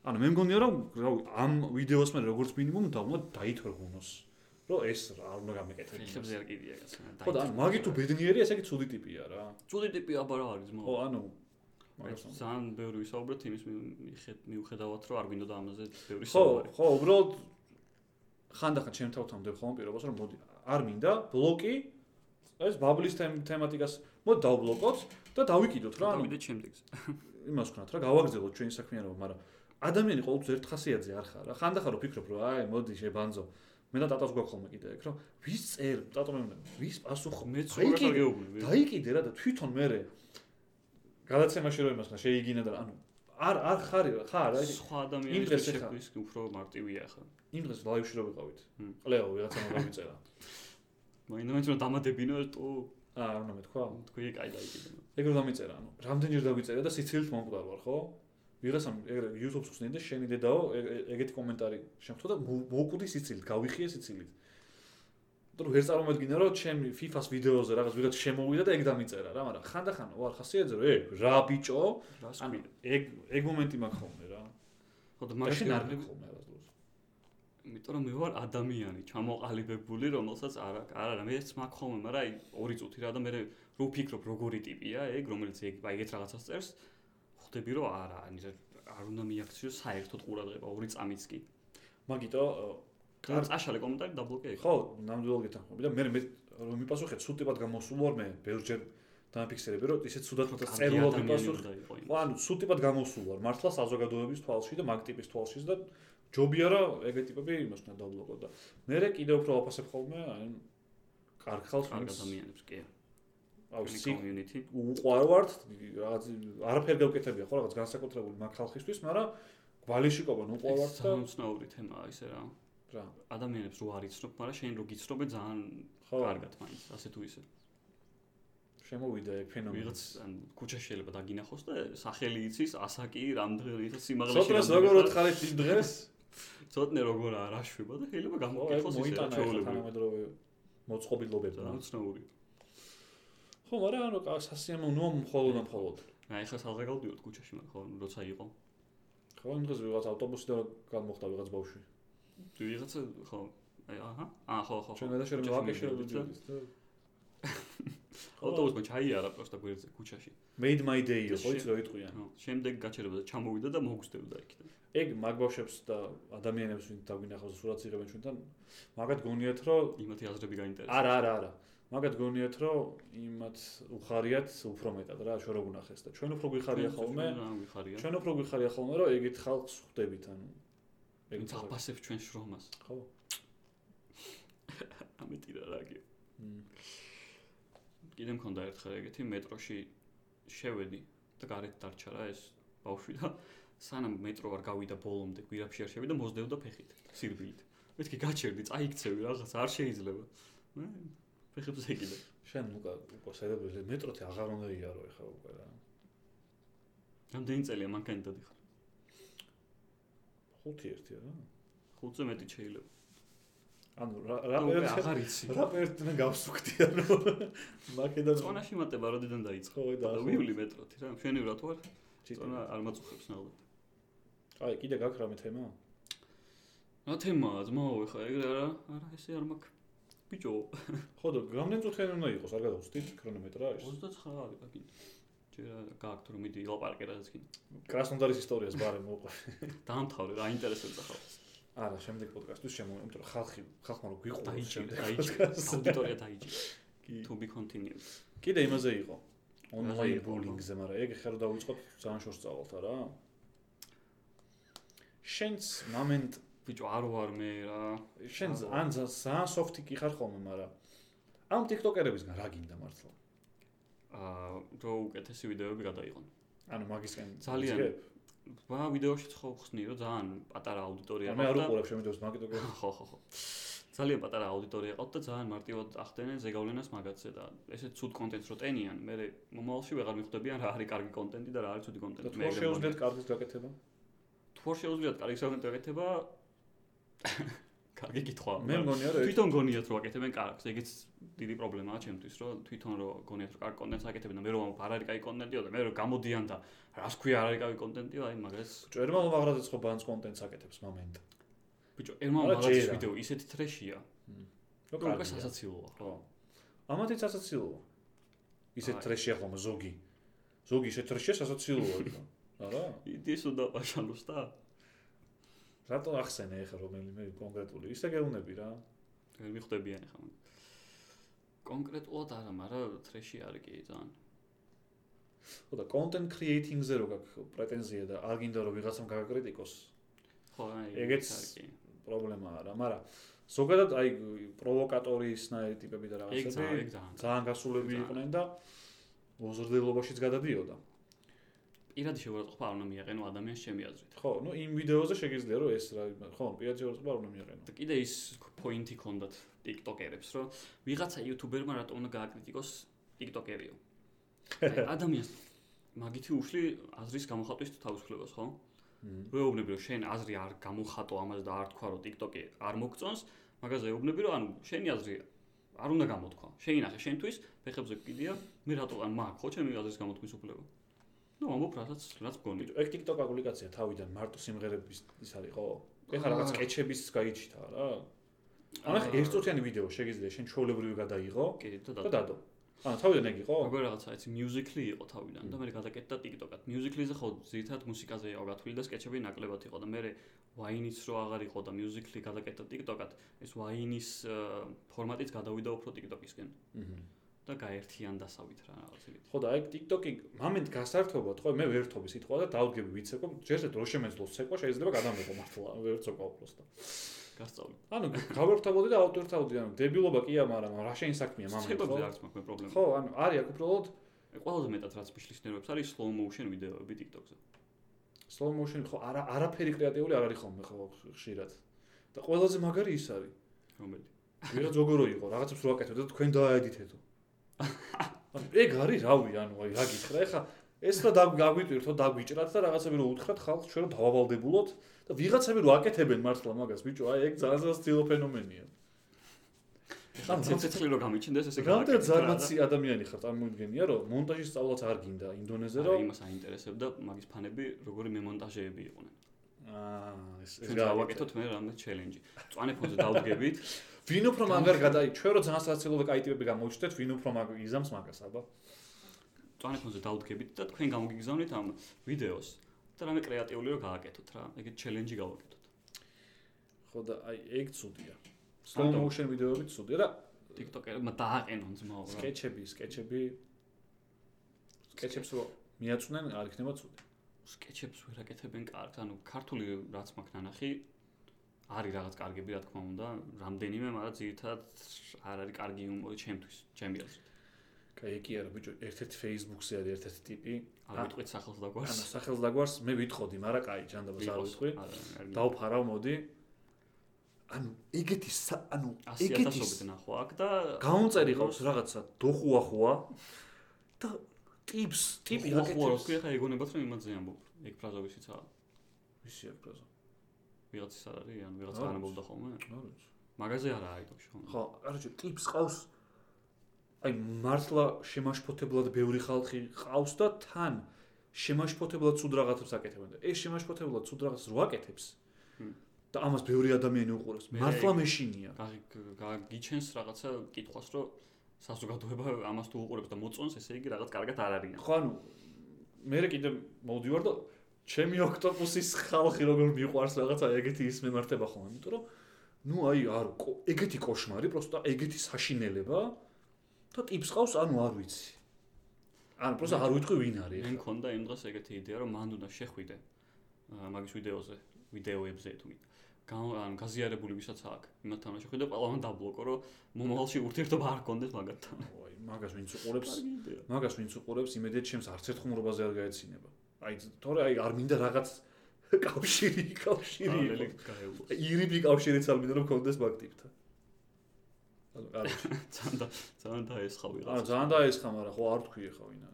Speaker 2: ანუ მე მგონია რომ რა ვი- ამ ვიდეოს მე როგორც მინიმუმ დავულა დაითორგუნოს, რომ ეს რა არ უნდა
Speaker 1: ხელებზე
Speaker 2: გამეკეთებინოს.
Speaker 1: არ კიდია კაცო.
Speaker 2: ხო და ან მაგი თუ ბედნიერია, ესე იგი ცუდი ტიპია რა.
Speaker 1: ცუდი ტიპი აბა რა არის
Speaker 2: ხო,
Speaker 1: მოა.
Speaker 2: ანუ
Speaker 1: ეს
Speaker 2: მაგას უნდა.
Speaker 1: ძალიან ბევრი ვისაუბრეთ იმის მი- მიხედ- მიუხედავად რომ არ გვინდოდა ამაზე ბევრი
Speaker 2: ხო,
Speaker 1: საუბარი.
Speaker 2: ხო, უბრალოდ ხანდახან ჩემ თავთან მდებ ხოლმე პირობას, რომ მოდი არ მინდა ბლოკი ეს ბაბლის თემ- თემატიკას მოდი დავბლოკოთ და დავიკიდოთ რა, ანუ
Speaker 1: მივიდეთ შემდეგზე.
Speaker 2: იმას ვქნათ რა გავაგრძელოთ ჩვენი საქმიანობა, მაგრამ ადამიანი ყოველთვის ერთ ხასიათზე არ ხარ რა. ხანდახან რო ფიქრობ რომ აი მოდი შებანძო. მე და ტატას გვაქვს ხოლმე კიდე ეგ რომ ვის წერ ტატო მე უნდა ვის პასუხო
Speaker 1: მეც
Speaker 2: აი,
Speaker 1: უბრალოდ
Speaker 2: კიდე-
Speaker 1: არ გეუბნები.
Speaker 2: დაიკიდე რა და თვითონ მე გადაცემაში რომ იმას ხარ შეიგინა და ანუ არ არ ხარ ხარ რა
Speaker 1: სხვა ადამიანის
Speaker 2: იმდრეს ეხა.
Speaker 1: შექმნის უფრო მარტივია ხა.
Speaker 2: იმ დღეს ლაივში რომ ვიყავით.
Speaker 1: მმ.
Speaker 2: კლეო ვიღაცა უნდა მიწერა.
Speaker 1: მაინც რომ დამადებინო თუ
Speaker 2: აა რა უნდა მეთქვა?
Speaker 1: თქვი კაი დაიკიდებინო.
Speaker 2: ეგ რომ დამიწერა, ანუ რამდენჯერ დავიწერა და სიცილით მომკვდარ ვარ, ხო? ვიღაცამ ეგრე YouTube-ს ხსნიდა და შენი დედაო ეგ- ეგ- ეგეთი კომენტარი შემხტო და მო- მოუკვდი სიცილით, გავიხიე სიცილით. და რომ ვერ წარმოედგინა რომ ჩემი FIFA-ს ვიდეოზე რაღაც ვიღაც შემოვიდა და ეგ დამიწერა რა, მაგრამ ხანდახან ვარ ხასიათზე რომ ეგ რა ბიჭო,
Speaker 1: რას
Speaker 2: ანუ
Speaker 1: გვინდა?
Speaker 2: ეგ ეგ მომენტი მაქვს ხოლმე რა.
Speaker 1: ხო და
Speaker 2: მაგრამ შენ არ
Speaker 1: მაგას
Speaker 2: მაქვს ხოლმე არასდროს.
Speaker 1: იმიტომ რომ მე ვარ ადამიანი, ჩამოყალიბებული, რომელსაც არა, არა, მეც მაქვს ხოლმე, მაგრამ აი ორი წუთი რა და მე რო ვფიქრობ როგორი ტიპია ეგ, რომელიც ეგ აი ეგეთ რაღაცას წერს, ხვდები რომ არა, ანუ რა- არ უნდა მიაქციო საერთოდ ყურადღება, ორი წამიც კი.
Speaker 2: მაგიტო, აა,
Speaker 1: და წაშალე კომენტარი დაბლოკე ეგ.
Speaker 2: ხო, ნამდვილად გეთანხმები და მე მე რომ მიპასუხე ცუდ ტიპად გამოსულ ვარ მე, ბევრჯერ დამიფიქსირები რომ ისე ცუდად მოთა წერილობ მიპასუხე
Speaker 1: იყო.
Speaker 2: ხო, ანუ სულ ტიპად გამოსულ ვარ მართლა საზოგადოების თვალში და მაგ ტიპის თვალშიც და ჯობია რა ეგე ტიპები იმას უნდა დავლოკო და მე რე კიდე უფრო აფასებ ხოლმე აი ამ კარგ ხალხს
Speaker 1: კარგ
Speaker 2: ვინც
Speaker 1: ადამიანებს კი.
Speaker 2: აი სი
Speaker 1: კომიუნიტი.
Speaker 2: უყვარვართ რაღაც არაფერ გავკეთებია ხო რაღაც განსაკუთრებული მაგ ხალხისთვის მაგრამ გვალიშიკობენ
Speaker 1: ეს
Speaker 2: უყვარვართ და
Speaker 1: ძალიან უცნაური თემაა ისე რა.
Speaker 2: რა
Speaker 1: ადამიანებს რო არ იცნობ, მაგრამ შენ რო გიცნობე ძალიან
Speaker 2: ხო
Speaker 1: კარგად მაინც, ასე თუ ისე.
Speaker 2: შემოვიდა ეგ ფენომენი
Speaker 1: ვიღაც ან ქუჩა შეიძლება დაგინახოს და სახელი იცის, ასაკი, რამდენი და სიმაღლეში.
Speaker 2: სოტრას
Speaker 1: რამდენი
Speaker 2: როგორ
Speaker 1: ხარ.
Speaker 2: ოთხალეთ იმ დღეს
Speaker 1: ცოტნე როგორ არ აშვება და შეიძლება
Speaker 2: ხო, ეგ
Speaker 1: გამოგიხოს ისე
Speaker 2: მოიტანა ეხლა
Speaker 1: ჩაოლებული.
Speaker 2: თანამედროვე მოწყობილობებმა
Speaker 1: ძალიან უცნაური.
Speaker 2: ხო მაგრამ ანუ კა- სასიამოვნოა მხოლოდ და მხოლოდ
Speaker 1: რა ეხლა სალზე გავდივართ ქუჩაში მაგრამ ხო, როცა იყო.
Speaker 2: ხო, იმ დღეს ვიღაც ავტობუსიდან გადმოხდა ვიღაც ბავშვი.
Speaker 1: თუ ვიღაცა ხო, აი აჰა, აა ხო ხო.
Speaker 2: ჩვენ გადაშერება ვაკეშერებით და
Speaker 1: ავტობუსმა ჩაიარა პროსტა გვერდზე ქუჩაში.
Speaker 2: made my day ხო,
Speaker 1: შე-
Speaker 2: იცი რა იტყვიან.
Speaker 1: ხო, შემდეგ გაჩერებოდა, ჩამოვიდა და მოგვსდებდა იქიდან.
Speaker 2: ეგ მაგ ბავშვებს და ადამიანებს ვინ დაგვინახავს სურათს იღებენ ჩვენთან, მაგათ გონიათ რომ
Speaker 1: იმათი აზრები გაინტერესა.
Speaker 2: არა, არა, არა. მაგათ გონიათ რომ იმათ უხარიათ უფრო მეტად რა, ჩვენ რო გუნახეს და ჩვენ უფრო გვიხარია ხოლმე,
Speaker 1: რა ვიხარია.
Speaker 2: ჩვენ უფრო გვიხარია ხოლმე რომ ეგეთ ხალხს ხვდებით, ანუ
Speaker 1: ვინც აფასებს ჩვენ შრომას.
Speaker 2: ხო?
Speaker 1: ამეტი რა რაგია.
Speaker 2: მ.
Speaker 1: კიდე მქონდა ერთხელ ეგეთი მეტროში შევედი და გარეთ დარჩა რა ეს ბავშვი და სანამ მეტრო არ გავიდა ბოლომდე გვირაბში არ შევიდა მოძდევდა ფეხით სირბილით მეთქი გაჩერდი წაიქცევი რაღაც არ შეიძლება მე ფეხებზე ეკიდა
Speaker 2: შენ უკა უკვე საერთოდ მეტროთი აღარ უნდა იარო ეხლა უკვე რა.
Speaker 1: რამდენი წელია მანქანიდან ხარ
Speaker 2: 5-1 რა.
Speaker 1: ხუთზე მეტი შეიძლება
Speaker 2: ანუ რა რა
Speaker 1: და უკვე
Speaker 2: პერიოდში
Speaker 1: აღარ იცი
Speaker 2: რა პერტნა გავსუქდი ანუ მაკედონს
Speaker 1: წონაში მატება როდიდან დაიწყო
Speaker 2: ხო და
Speaker 1: და ვივლი მეტროთი რა მშვენივრად ვარ
Speaker 2: ჩიტო
Speaker 1: წონა არ მაწუხებს ნამდვილად
Speaker 2: აი კიდე გაქვს რამე თემა
Speaker 1: რა თემაა ძმაო ხა ეგ რა არა ესე არ მაქვს ბიჭო
Speaker 2: ხო და რამდენი წუთიანი უნდა იყოს არ გადავწვდით ქრონომეტრაჟს
Speaker 1: 29 არის აგინდა ჯერ არ გააქვთ რომ მიდი ილაპარაკე რაღაც კიდე
Speaker 2: კრასნოდარის ისტორიას ბარე მოყვე
Speaker 1: დაამთავრე რა ინტერესებს ახლა
Speaker 2: არა შემდეგ პოდკასტის შემოვიდე იმიტომ რომ ხალხი ხალხმა რომ გიყვაროს
Speaker 1: დაიჭირე
Speaker 2: შემდეგ
Speaker 1: დაიჭირე
Speaker 2: პოდკასტს.
Speaker 1: აუდიტორია დაიჭირე
Speaker 2: კი.
Speaker 1: to be continued
Speaker 2: კიდე იმაზე იყო
Speaker 1: რაზე
Speaker 2: ონლაინ
Speaker 1: იყო?
Speaker 2: ბულინგზე, მაგრამ ეგ ხერ დავიწყოთ ძალიან შორს წავალთ არა? შენც მომენტ
Speaker 1: ბიჭო არ ვარ მე რა.
Speaker 2: შენ
Speaker 1: აბა.
Speaker 2: ან ზა- ძალიან სოფტი კი ხარ ხოლმე, მაგრამ ამ TikToker-ებისგან რა გინდა მართლა?
Speaker 1: აა რო უკეთესი ვიდეოები გადაიღონ.
Speaker 2: ანუ მაგისკენ
Speaker 1: ძალიან.
Speaker 2: ვიძგებ?
Speaker 1: ვა ვიდეოში ხო ხსნი რომ ძალიან პატარა აუდიტორია
Speaker 2: მე არ უყურებ შენ ვიდეოს მაგიტოკე.
Speaker 1: ხო ხო ხო. ძალიან პატარა აუდიტორია ყავთ და ძალიან მარტივად ახდენენ ზეგავლენას მაგაცზე და ესე ცუდ კონტენტს რო ტენიან, მე მომავალში ვეღარ მიხვდებიან რა არის კარგი კონტენტი და რა არის ცუდი
Speaker 2: და
Speaker 1: კონტენტი.
Speaker 2: თუ არ შეუძლიათ კარგის გაკეთება?
Speaker 1: თუ არ შეუძლიათ კარგი საგანტო ეკეთება კარგი კითხვა.
Speaker 2: მე მგონია რომ
Speaker 1: თვითონ გონიათ რომ აკეთებენ კარგს, ეგეც დიდი პრობლემაა ჩემთვის, რომ თვითონ რომ გონიათ რომ კარგ კონტენტს აკეთებენ და მე რომ ამბობ, არ არის კარგი კონტენტიო და მე რომ გამოდიან და რას ქვია არ არის კარგი კონტენტიო, აი მაგას
Speaker 2: ჭერმა მაღრაზეც ხო ბანს კონტენტს აკეთებს მომენტ.
Speaker 1: ბიჭო, ერმა
Speaker 2: არა,
Speaker 1: მაგას
Speaker 2: ჯერა.
Speaker 1: ვიდეო ისეთი ტრეშია, რომ
Speaker 2: რო
Speaker 1: უკვე
Speaker 2: კარგია.
Speaker 1: სასაცილოა.
Speaker 2: ხო. ამათიც ასაცილოა. ისეთ
Speaker 1: აი.
Speaker 2: ტრეშია ხომ ზოგი. ზოგი ისეთ ტრეშია სასაცილოა. იყო. არა?
Speaker 1: იდი სულ დაპაშალოს და
Speaker 2: რატო ახსენე ახლა რომელიმე კონკრეტული? ისე გეუნები რა.
Speaker 1: ვერ მიხვდებიან ახლა მაგ. კონკრეტულად არა, მაგრამ ტრეში არის კი ძალიან.
Speaker 2: ხო და კონტენტ კრეიტინგზე რო გაქვს პრეტენზია და არ გინდა რომ ვიღაცამ გააკრიტიკოს
Speaker 1: ხო, აი
Speaker 2: ეგეც-
Speaker 1: არის კი.
Speaker 2: პრობლემაა რა, მაგრამ ზოგადად აი პროვოკატორიისნაირი ტიპები და
Speaker 1: ეგ ძალიან,
Speaker 2: რაღაცები
Speaker 1: ეგ ძალიან.
Speaker 2: ძალიან გასულები
Speaker 1: ძალიან.
Speaker 2: იყვნენ და მოზრდილობაშიც გადადიოდა.
Speaker 1: პირადი შეურაცხყოფა არ უნდა მიეყენო ადამიანს ჩემი აზრით.
Speaker 2: ხო, ნუ იმ ვიდეოზე შეგიძლია რომ ეს რა, ხო, პირადი შეურაცხყოფა არ უნდა მიეყენო.
Speaker 1: და კიდე ის პოინტი ქონდათ TikTokerებს, რომ ვიღაცა YouTuber-მა რატო უნდა გააკრიტიკოს TikToker-იო. აი, ადამიანს მაგითი უშლი აზრის გამოხატვის თავისუფლებას, ხო?
Speaker 2: მმ.
Speaker 1: ვეუბნები, რომ შენ აზრი არ გამოხატო ამას და არ თქვა, რომ TikTok-ი არ მოგწონს, მაგაზე ეუბნები, რომ ანუ შენი აზრი არ უნდა გამოთქვა. შეინახე შენთვის, ფეხებზე კიდია, მე რატო ან მაგ, ხო, ჩემი აზრის გამოთქმის უფლება. ნუ ამბობ რასაც, რაც გონი.
Speaker 2: ბიჭო, ეგ TikTok აპლიკაცია თავიდან მარტო სიმღერების ის არის ხო? ეგ ხარ რაღაც
Speaker 1: აა.
Speaker 2: კეჩების გაიჩითა რა. ან ახ ერთწუთიანი ვიდეო შეგიძლია შენ ჩვეულებრივი გადაიღო
Speaker 1: კი და
Speaker 2: და
Speaker 1: და
Speaker 2: დადო. ანუ თავიდან ეგ იყო?
Speaker 1: როგორ რაღაცა იცი მიუზიკლი იყო თავიდან და მე გადაკეთდა TikTok-ად. მიუზიკლიზე ხო ზირთად მუსიკაზე იყო გათვლილი და სკეჩები ნაკლებად იყო და მე ვაინის რო აღარ იყო და მიუზიკლი გადაკეთდა TikTok-ად. ეს ვაინის აა, ფორმატიც გადავიდა უფრო TikTok-ისკენ
Speaker 2: მჰმ.
Speaker 1: და გაერთიანდასავით რა რაღაცა იგივე.
Speaker 2: ხო და აი TikTok-ი მომენტ გასართობოთ, ხო, მე ვერ ვთობი სიტყვა და დავდგები ვიცეკო, ჯერზე დრო შემეძლოს ცეკვა, შეიძლება გადამეყო მართლა, ვერ ცოკვა უბრალოდ. და.
Speaker 1: გასწავლი.
Speaker 2: ანუ გავერთობოდი და ავტორთავდი, ანუ დებილობა კია, მაგრამ რა შენი საქმეა მომენტ.
Speaker 1: ცებებზე
Speaker 2: ხო?
Speaker 1: არც მაქვს მე პრობლემა.
Speaker 2: ხო, ანუ არის აქ უბრალოდ
Speaker 1: ყველაზე მეტად რაც მიშლის ნერვებს არის slow motion ვიდეოები TikTok-ზე.
Speaker 2: slow motion, ხო, არა არაფერი კრეატიული არ არის ხოლმე, ხო, ხშირად. და ყველაზე მაგარი ის არის.
Speaker 1: რომელი?
Speaker 2: ვიღაც როგორო იყო, რაღაცებს რო აკეთებდა და თქვენ დააედითეთო. ანუ ეგ არის რავი, ანუ აი რა გითხრა, ეხა ეს რა დაგ- დაგვიტვირთო, დაგვიჭრათ და რაღაცები რო უთხრათ ხალხს, ჩვენ რომ დავავალდებულოთ და ვიღაცები რო აკეთებენ მართლა მაგას, ბიჭო, აი ეგ ძალიან ძალიან სტილო ფენომენია.
Speaker 1: ხან ცეცეცლი რო გამიჩნდეს ესე
Speaker 2: რამდენი ზარმაცი ადამიანი ხარ, წარმოიდგენია, რომ მონტაჟის სწავლაც არ გინდა ინდონეზზე,
Speaker 1: ზერო
Speaker 2: რომ
Speaker 1: იმას აინტერესებდა მაგის ფანები როგორი მემონტაჟეები იყვნენ.
Speaker 2: აა ეს ეს
Speaker 1: ჩვენ
Speaker 2: გავაკეთოთ.
Speaker 1: დავაკეთოთ მე რამე ჩელენჯი. წვანე ფონზე დავდგებით
Speaker 2: ვინ უფრო მაგარ გადაი, ჩვენ რო ძალიან სასაცილო და კაი ტიპები გამოჩნდეთ, ვინ უფრო მაგ იზამს მაგას, აბა.
Speaker 1: ტელეფონზე დავდგებით და თქვენ გამოგიგზავნით ამ ვიდეოს და რამე კრეატიული რომ გააკეთოთ რა. ეგეთ ჩელენჯი გავაკეთოთ.
Speaker 2: ხო და აი ეგ ცუდია. slow
Speaker 1: ამიტომ.
Speaker 2: motion ვიდეოები ცუდია და
Speaker 1: TikTok-ერმა დააყენონ ძმაო რა.
Speaker 2: სკეჩები, სკეჩები სკეჩებს რო მიაწვნენ, არ იქნება ცუდი.
Speaker 1: სკეჩებს ვერ აკეთებენ კარგ, ანუ ქართული რაც მაქვს ნანახი არის რაღაც კარგები რა თქმა უნდა, რამდენიმე, მაგრამ ძირითადად არ არის კარგი იუმორი ჩემთვის, ჩემი აზრით.
Speaker 2: კაი, ეგ კი არა ბიჭო, ერთ-ერთ Facebook-ზე არის ერთ-ერთი ტიპი.
Speaker 1: არ ვიტყვით სახელს
Speaker 2: ანუ
Speaker 1: დაგვარს.
Speaker 2: სახელს დაგვარს, მე ვიტყოდი, მაგრამ კაი, ჯანდაბას არ ვიტყვი. დავფარავ მოდი. ანუ ეგეთი სა- ანუ
Speaker 1: 100000 ობით ნახვა აქ და
Speaker 2: გამომწერი ყავს რაღაცა დოხუახუა და ტიპს, ტიპი
Speaker 1: აკეთებს.
Speaker 2: აკეთებს.
Speaker 1: ხო, ხა ეგონებათ რომ იმაზე ამბობ. ეგ ფრაზა ვიციცაა.
Speaker 2: ვისია ფრაზა.
Speaker 1: ვიღაც ის არ არის, ან ვიღაც
Speaker 2: არ
Speaker 1: არ
Speaker 2: ვიცი.
Speaker 1: ამბობდა ხოლმე.
Speaker 2: არ ვიცი.
Speaker 1: მაგაზე არა აიტოქში ხოლმე.
Speaker 2: ხო, არჩევ ტიპს ყავს აი მართლა შემაშფოთებლად ბევრი ხალხი ყავს და თან შემაშფოთებლად ცუდ რაღაცებს აკეთებენ და ეს შემაშფოთებლად ცუდ რაღაცს რო აკეთებს
Speaker 1: მმ.
Speaker 2: და ამას ბევრი ადამიანი უყურებს
Speaker 1: მე
Speaker 2: მართლა
Speaker 1: ეგ-
Speaker 2: მეშინია
Speaker 1: გაგი- გაგიჩენს რაღაცა კითხვას, რომ საზოგადოება ამას თუ უყურებს და მოწონს, ესე იგი რაღაც კარგად არ არიან.
Speaker 2: ხო ანუ მე კიდე მოვდივარ და ჩემი ოქტოპუსის ხალხი როგორ მიყვარს რაღაცა ეგეთი ის მემართება ხოლმე იმიტომ რომ ну აი არ კო- ეგეთი кошмари просто ეგეთი საშინელება და ტიპს ყავს ანუ არ ვიცი ანუ просто არ ვიტყვი ვინ არის
Speaker 1: მე
Speaker 2: ეხლა.
Speaker 1: მქონდა იმ დღეს ეგეთი idea, რომ მან უნდა შეხვიდე აა, მაგის ვიდეოზე, ვიდეოებზე თუ მით. ან გაზიარებული ვისაც აქვს იმათ თამაში ხო და ყველამ დაბლოკო რომ მომავალში ურთიერთობა არ გქონდეს მაგათთან
Speaker 2: ой, მაგას ვინც უყურებს,
Speaker 1: არ გინდა
Speaker 2: მაგას ვინც უყურებს, იმედეთ შემს არც ერთ ხუმრობაზე არ გაეცინება. აი, თორე აი არ მინდა რაღაც კავშირი, კავშირი იყო.
Speaker 1: პარალელი გაეულო
Speaker 2: ირიბი კავშირიც არ მინდა რომ კონდეს მაგ ტიპთან. ანუ არა,
Speaker 1: ძალიან და ძალიან დაესხავი
Speaker 2: არა ძალიან დაესხა, მაგრამ ხო არ თქვი ხა ვინა.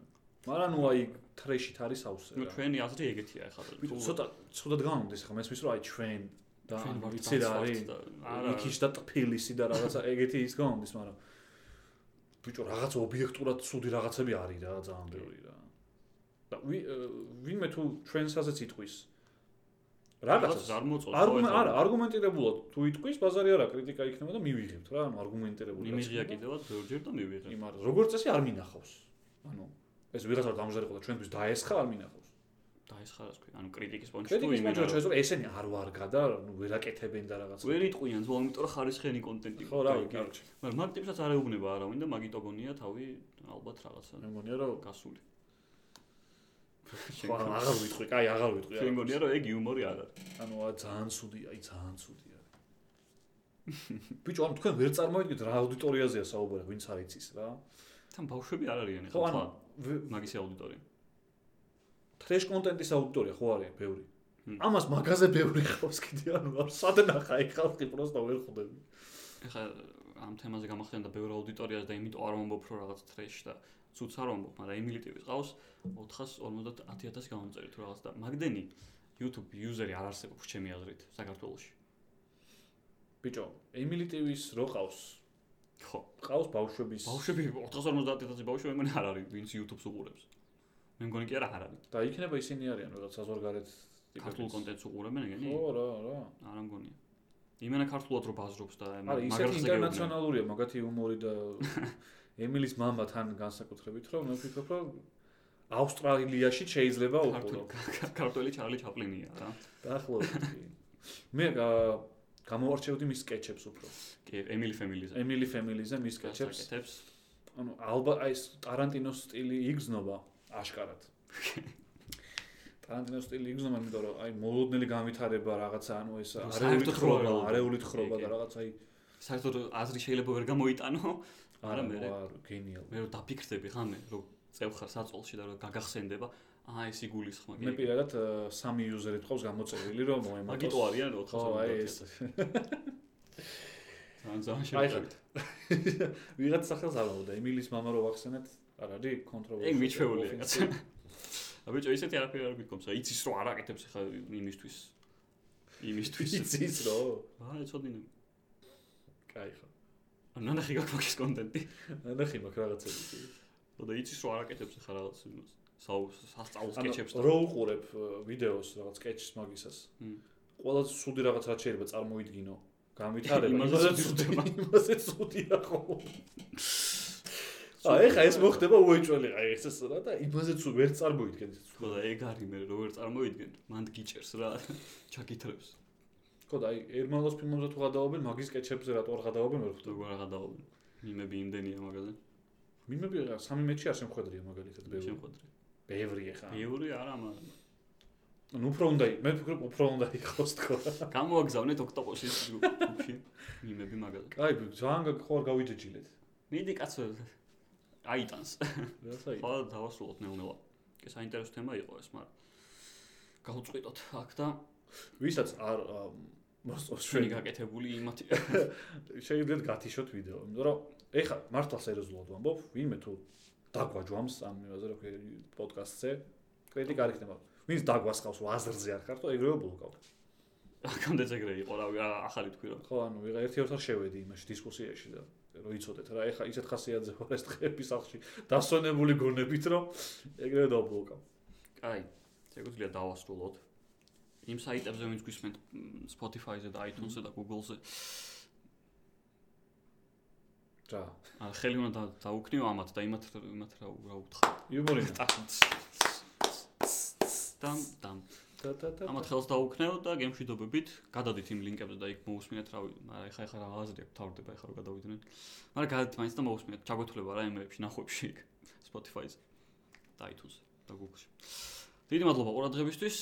Speaker 2: მაგრამ ნუ აი ტრეშით არის
Speaker 1: ну
Speaker 2: აუსე რა.
Speaker 1: ჩვენი აზრი ეგეთია ახლა
Speaker 2: ვიტყვი, ცოტა ცოტა გამოდის ხა მესმის რომ აი ჩვენ და
Speaker 1: ჩვენ ვარ
Speaker 2: ვიცი რა არის
Speaker 1: და არა
Speaker 2: იქის და ტფილისი და რაღაცა ეგეთი ის გამოდის, მაგრამ ბიჭო, რაღაც ობიექტურად ცუდი რაღაცები არის რა, ძალიან ბევრი რა. და ვი- ö, ვინმე თუ ჩვენსასაც იტყვის
Speaker 1: რაღაც
Speaker 2: რაღაცას
Speaker 1: არ მოწოს
Speaker 2: არგუმენტ არა, არგუმენტირებულად თუ იტყვის, ბაზარი არა, კრიტიკა იქნება და მივიღებთ რა, ანუ არგუმენტირებულად.
Speaker 1: იმიღია კიდევაც ბევრჯერ და მივიღე
Speaker 2: იმ არა, როგორც წესი არ მინახავს. ანუ ეს ვიღაც არ დამჟარიყო და ჩვენთვის დაესხა არ მინახავს.
Speaker 1: დაესხარას ქვი ანუ κρიტიკის პონჩი თუ
Speaker 2: კრიტიკის
Speaker 1: იმენა
Speaker 2: მოჭრა შეიძლება ესენი არ ვარგა და ნუ ვერაკეთებენ და რაღაცა.
Speaker 1: ვერ იტყვიან ზო ამიტომ რომ ხარისხიანი კონტენტი
Speaker 2: ხო რა,
Speaker 1: გაიგე.
Speaker 2: კარჩე.
Speaker 1: მაგრამ მაგ ტიპსაც არ ეუბნება არავინ და მაგიტო გონია თავი ალბათ რაღაცა
Speaker 2: მე მგონია რომ
Speaker 1: გასული
Speaker 2: ხო, აღარ ვიტყვი, კაი, აღარ ვიტყვი.
Speaker 1: ჩვენ გონია რომ ეგ იუმორი არ არის
Speaker 2: ანუ ა ძალიან ცუდი, აი ძალიან ცუდი არის. ბიჭო, ანუ თქვენ ვერ წარმოიდგინეთ რა აუდიტორიაზეა საუბარი, ვინც არ იცის რა.
Speaker 1: თან ბავშვები არ არიან
Speaker 2: ხო,
Speaker 1: ეხლა
Speaker 2: ანუ
Speaker 1: ხა,
Speaker 2: ვე-
Speaker 1: მაგისი აუდიტორია
Speaker 2: ტრეშ კონტენტის აუდიტორია ხო არის ბევრი.
Speaker 1: მ.
Speaker 2: ამას მაგაზე ბევრი ხავს კიდე ანუ არ სადნახა იქ ხალხი პროსტა ვერ ხვდები.
Speaker 1: ეხლა ამ თემაზე გამახსენდა ბევრ აუდიტორიას და იმიტომ არ ვამბობ რომ რაღაც ტრეშს და ცუც არ ვამბობ, მაგრამ ემილიტივი ყავს 450000 გამომწერი თუ რაღაც და მაგდენი YouTube იუზერი არ არსებობს ჩემი აზრით საქართველოში.
Speaker 2: ბიჭო, ემილი ტივის რო ყავს?
Speaker 1: ხო,
Speaker 2: ყავს ბავშვების
Speaker 1: ბავშვები 450000 ბავშვი მე მგონი არ არის, ვინც YouTube-ს უყურებს. მე მგონი კი არა არ არის.
Speaker 2: და იქნება ისინი არიან რაღაც საზღვარგარეთ ტიპებიც.
Speaker 1: ქართულ კონტენტს უყურებენ ეგენი?
Speaker 2: ხო, რა, რა.
Speaker 1: არ მგონია. იმენა ქართულად რო ბაზრობს და მაგ-
Speaker 2: არა, ისეთი
Speaker 1: გეუბნები.
Speaker 2: ინტერნაციონალურია მაგათი ჰუმორი და ემილის мама თან განსაკუთრებით რომ მე ვფიქრობ რომ ავსტრალიაში შეიძლება
Speaker 1: ქართული
Speaker 2: უყურო.
Speaker 1: ქართული ჩარლი ჩაპლინია რა.
Speaker 2: დაახლოებით. კი. მე აა, გამოვარჩევდი მის სკეჩებს უფრო.
Speaker 1: კი, ემილი ფემილიზე.
Speaker 2: ემილი ფემილიზე მის სკეჩებს
Speaker 1: გაკეთებს.
Speaker 2: ანუ ალბა აი ეს ტარანტინოს სტილი იგრძნობა აშკარად. ტარანტინოს სტილი იგრძნობა, იმიტომ რომ აი მოლოდნელი განვითარება რაღაცა, ანუ ეს
Speaker 1: რომ
Speaker 2: არეულით
Speaker 1: საერთოდ
Speaker 2: ხრობა,
Speaker 1: რეალობა.
Speaker 2: არეულით ხრობა
Speaker 1: კი, კი.
Speaker 2: და რაღაც აი
Speaker 1: საერთოდ აზრი შეიძლება ვერ გამოიტანო, არა,
Speaker 2: ანუ,
Speaker 1: მერე.
Speaker 2: არ გენიალ.
Speaker 1: მე რომ დაფიქრდები ხამე, რომ წევხარ საწოლში და რომ გაგახსენდება, აა ეს იგულისხმა კი.
Speaker 2: მე პირადად აა, სამი იუზერი თხოვს გამოწერილი რომ მოემატოს.
Speaker 1: მაგიტო არიან
Speaker 2: ხო,
Speaker 1: 400
Speaker 2: აი ეს
Speaker 1: ძალიან ძალიან
Speaker 2: აი, ხა.
Speaker 1: შევიწევით.
Speaker 2: ვიღაც სახელს არ მოვდა, ემილის мама რო ვახსენეთ, არ არის კონტროლი.
Speaker 1: ეგ მიჩვეულია კაცო. აბიჭო, ისეთი არაფერი არ გიქონსა, იცის რომ არ აკეთებს ხა იმისთვის. იმისთვის.
Speaker 2: იცის რო?
Speaker 1: აა, ეცოდინე.
Speaker 2: კაი ხო.
Speaker 1: ანუ ნახე გაგვაქის კონტენტი.
Speaker 2: ნახე მაგ რაღაცები.
Speaker 1: და იცის რომ არ აკეთებს ხა რაღაც იმას. საუ- სასწაულ სკეჩებს და
Speaker 2: რო უყურებ э, ვიდეოს რაღაც სკეჩს მაგისას.
Speaker 1: მმ.
Speaker 2: ყველა ცუდი რაღაც რაც შეიძლება წარმოიდგინო, განვითარება
Speaker 1: იმაზე
Speaker 2: იმაზე
Speaker 1: ცუდი
Speaker 2: ცუდი,
Speaker 1: ხდება.
Speaker 2: იმაზე ცუდია ხოლმე. აი, ხა ეს მოხდება უეჭველი, აი ეს ეს რა და იმაზე ცუ ვერ წარმოიდგენ ეს
Speaker 1: ხო
Speaker 2: ცუდი.
Speaker 1: და ეგ არის მე რომ ვერ წარმოიდგენ, მანდ გიჭერს რა, ჩაკითრებს.
Speaker 2: ხო და აი ერმალოს ფილმებზე თუ გადაობენ, მაგის სკეჩებზე რატო არ გადაობენ, ვერ ხვდები.
Speaker 1: როგორ აღადაობენ. მიმები იმდენია მაგაზე.
Speaker 2: მიმები რა, სამი მეჩი არ შემხედრია მაგალითად ბევრი.
Speaker 1: შემყოდრე.
Speaker 2: ბევრი ხა.
Speaker 1: ბევრი არა, მაგრამ
Speaker 2: ну უფრო უნდა იქ- მე ვფიქრობ უფრო უნდა იყოს თქო.
Speaker 1: გამოაგზავნეთ ოქტოპოსის გრუპში მიმები მაგაზე.
Speaker 2: აი ძალიან გაგ- ხო არ გავიჯეჯილეთ.
Speaker 1: მიდი კაცო აიტანს.
Speaker 2: რაცა იქ.
Speaker 1: ხო, დავასრულოთ ნეუნელა. კი საინტერესო თემა იყო ეს, მაგრამ გავწყვიტოთ აქ და
Speaker 2: ვისაც არ აა, მოსწონს
Speaker 1: ჩვენი
Speaker 2: ჩვენი
Speaker 1: გაკეთებული იმათი
Speaker 2: შეიძლება გათიშოთ ვიდეო, იმიტომ რომ ეხა მართლა სერიოზულად ვამბობ, ვინმე თუ დაგვაჯვამს ამ იმაზე რა ქვია პოდკასტზე, კრიტიკა არ იქნება. ვინც დაგვასხავს ვაზრზე არ ხარ, თო ეგრევე ბლოკავ.
Speaker 1: აქამდეც ეგრე იყო რა, რა ახალი თქვი რა.
Speaker 2: ხო, ანუ ვიღა ერთი ორთან შევედი იმაში დისკუსიაში და რომ იცოდეთ რა, ეხა ისეთ ხასიათზე ვარ ეს დღეები სახში დასონებული გონებით, რომ ეგრევე დავბლოკავ.
Speaker 1: კაი, შეგვიძლია დავასრულოთ. იმ საიტებზე ვინც გვისმენთ მ, Spotify-ზე და iTunes-ზე და Google-ზე.
Speaker 2: რა.
Speaker 1: აა, ხელი უნდა და- დაუქნიო ამათ და იმათ იმათ რა რა უთხრა.
Speaker 2: იუმორი.
Speaker 1: დამ დამ ამათ ხელს დაუქნევ და გემშვიდობებით გადადით იმ ლინკებზე და იქ მოусმინეთ რავი, მაგრამ ეხა ეხა რა აზრი აქვს თავდება ეხა რომ გადავიდნენ. მაგრამ გადადით მაინც და მოусმინეთ, ჩაგვეთვლება რა ემეებში, ნახვებში იქ Spotify-ზე და iTunes-ზე და Google-ში. დიდი მადლობა ყურადღებისთვის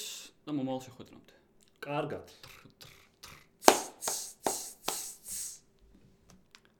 Speaker 1: და მომავალში ხვედრამდე.
Speaker 2: კარგად.
Speaker 1: თრ, თრ.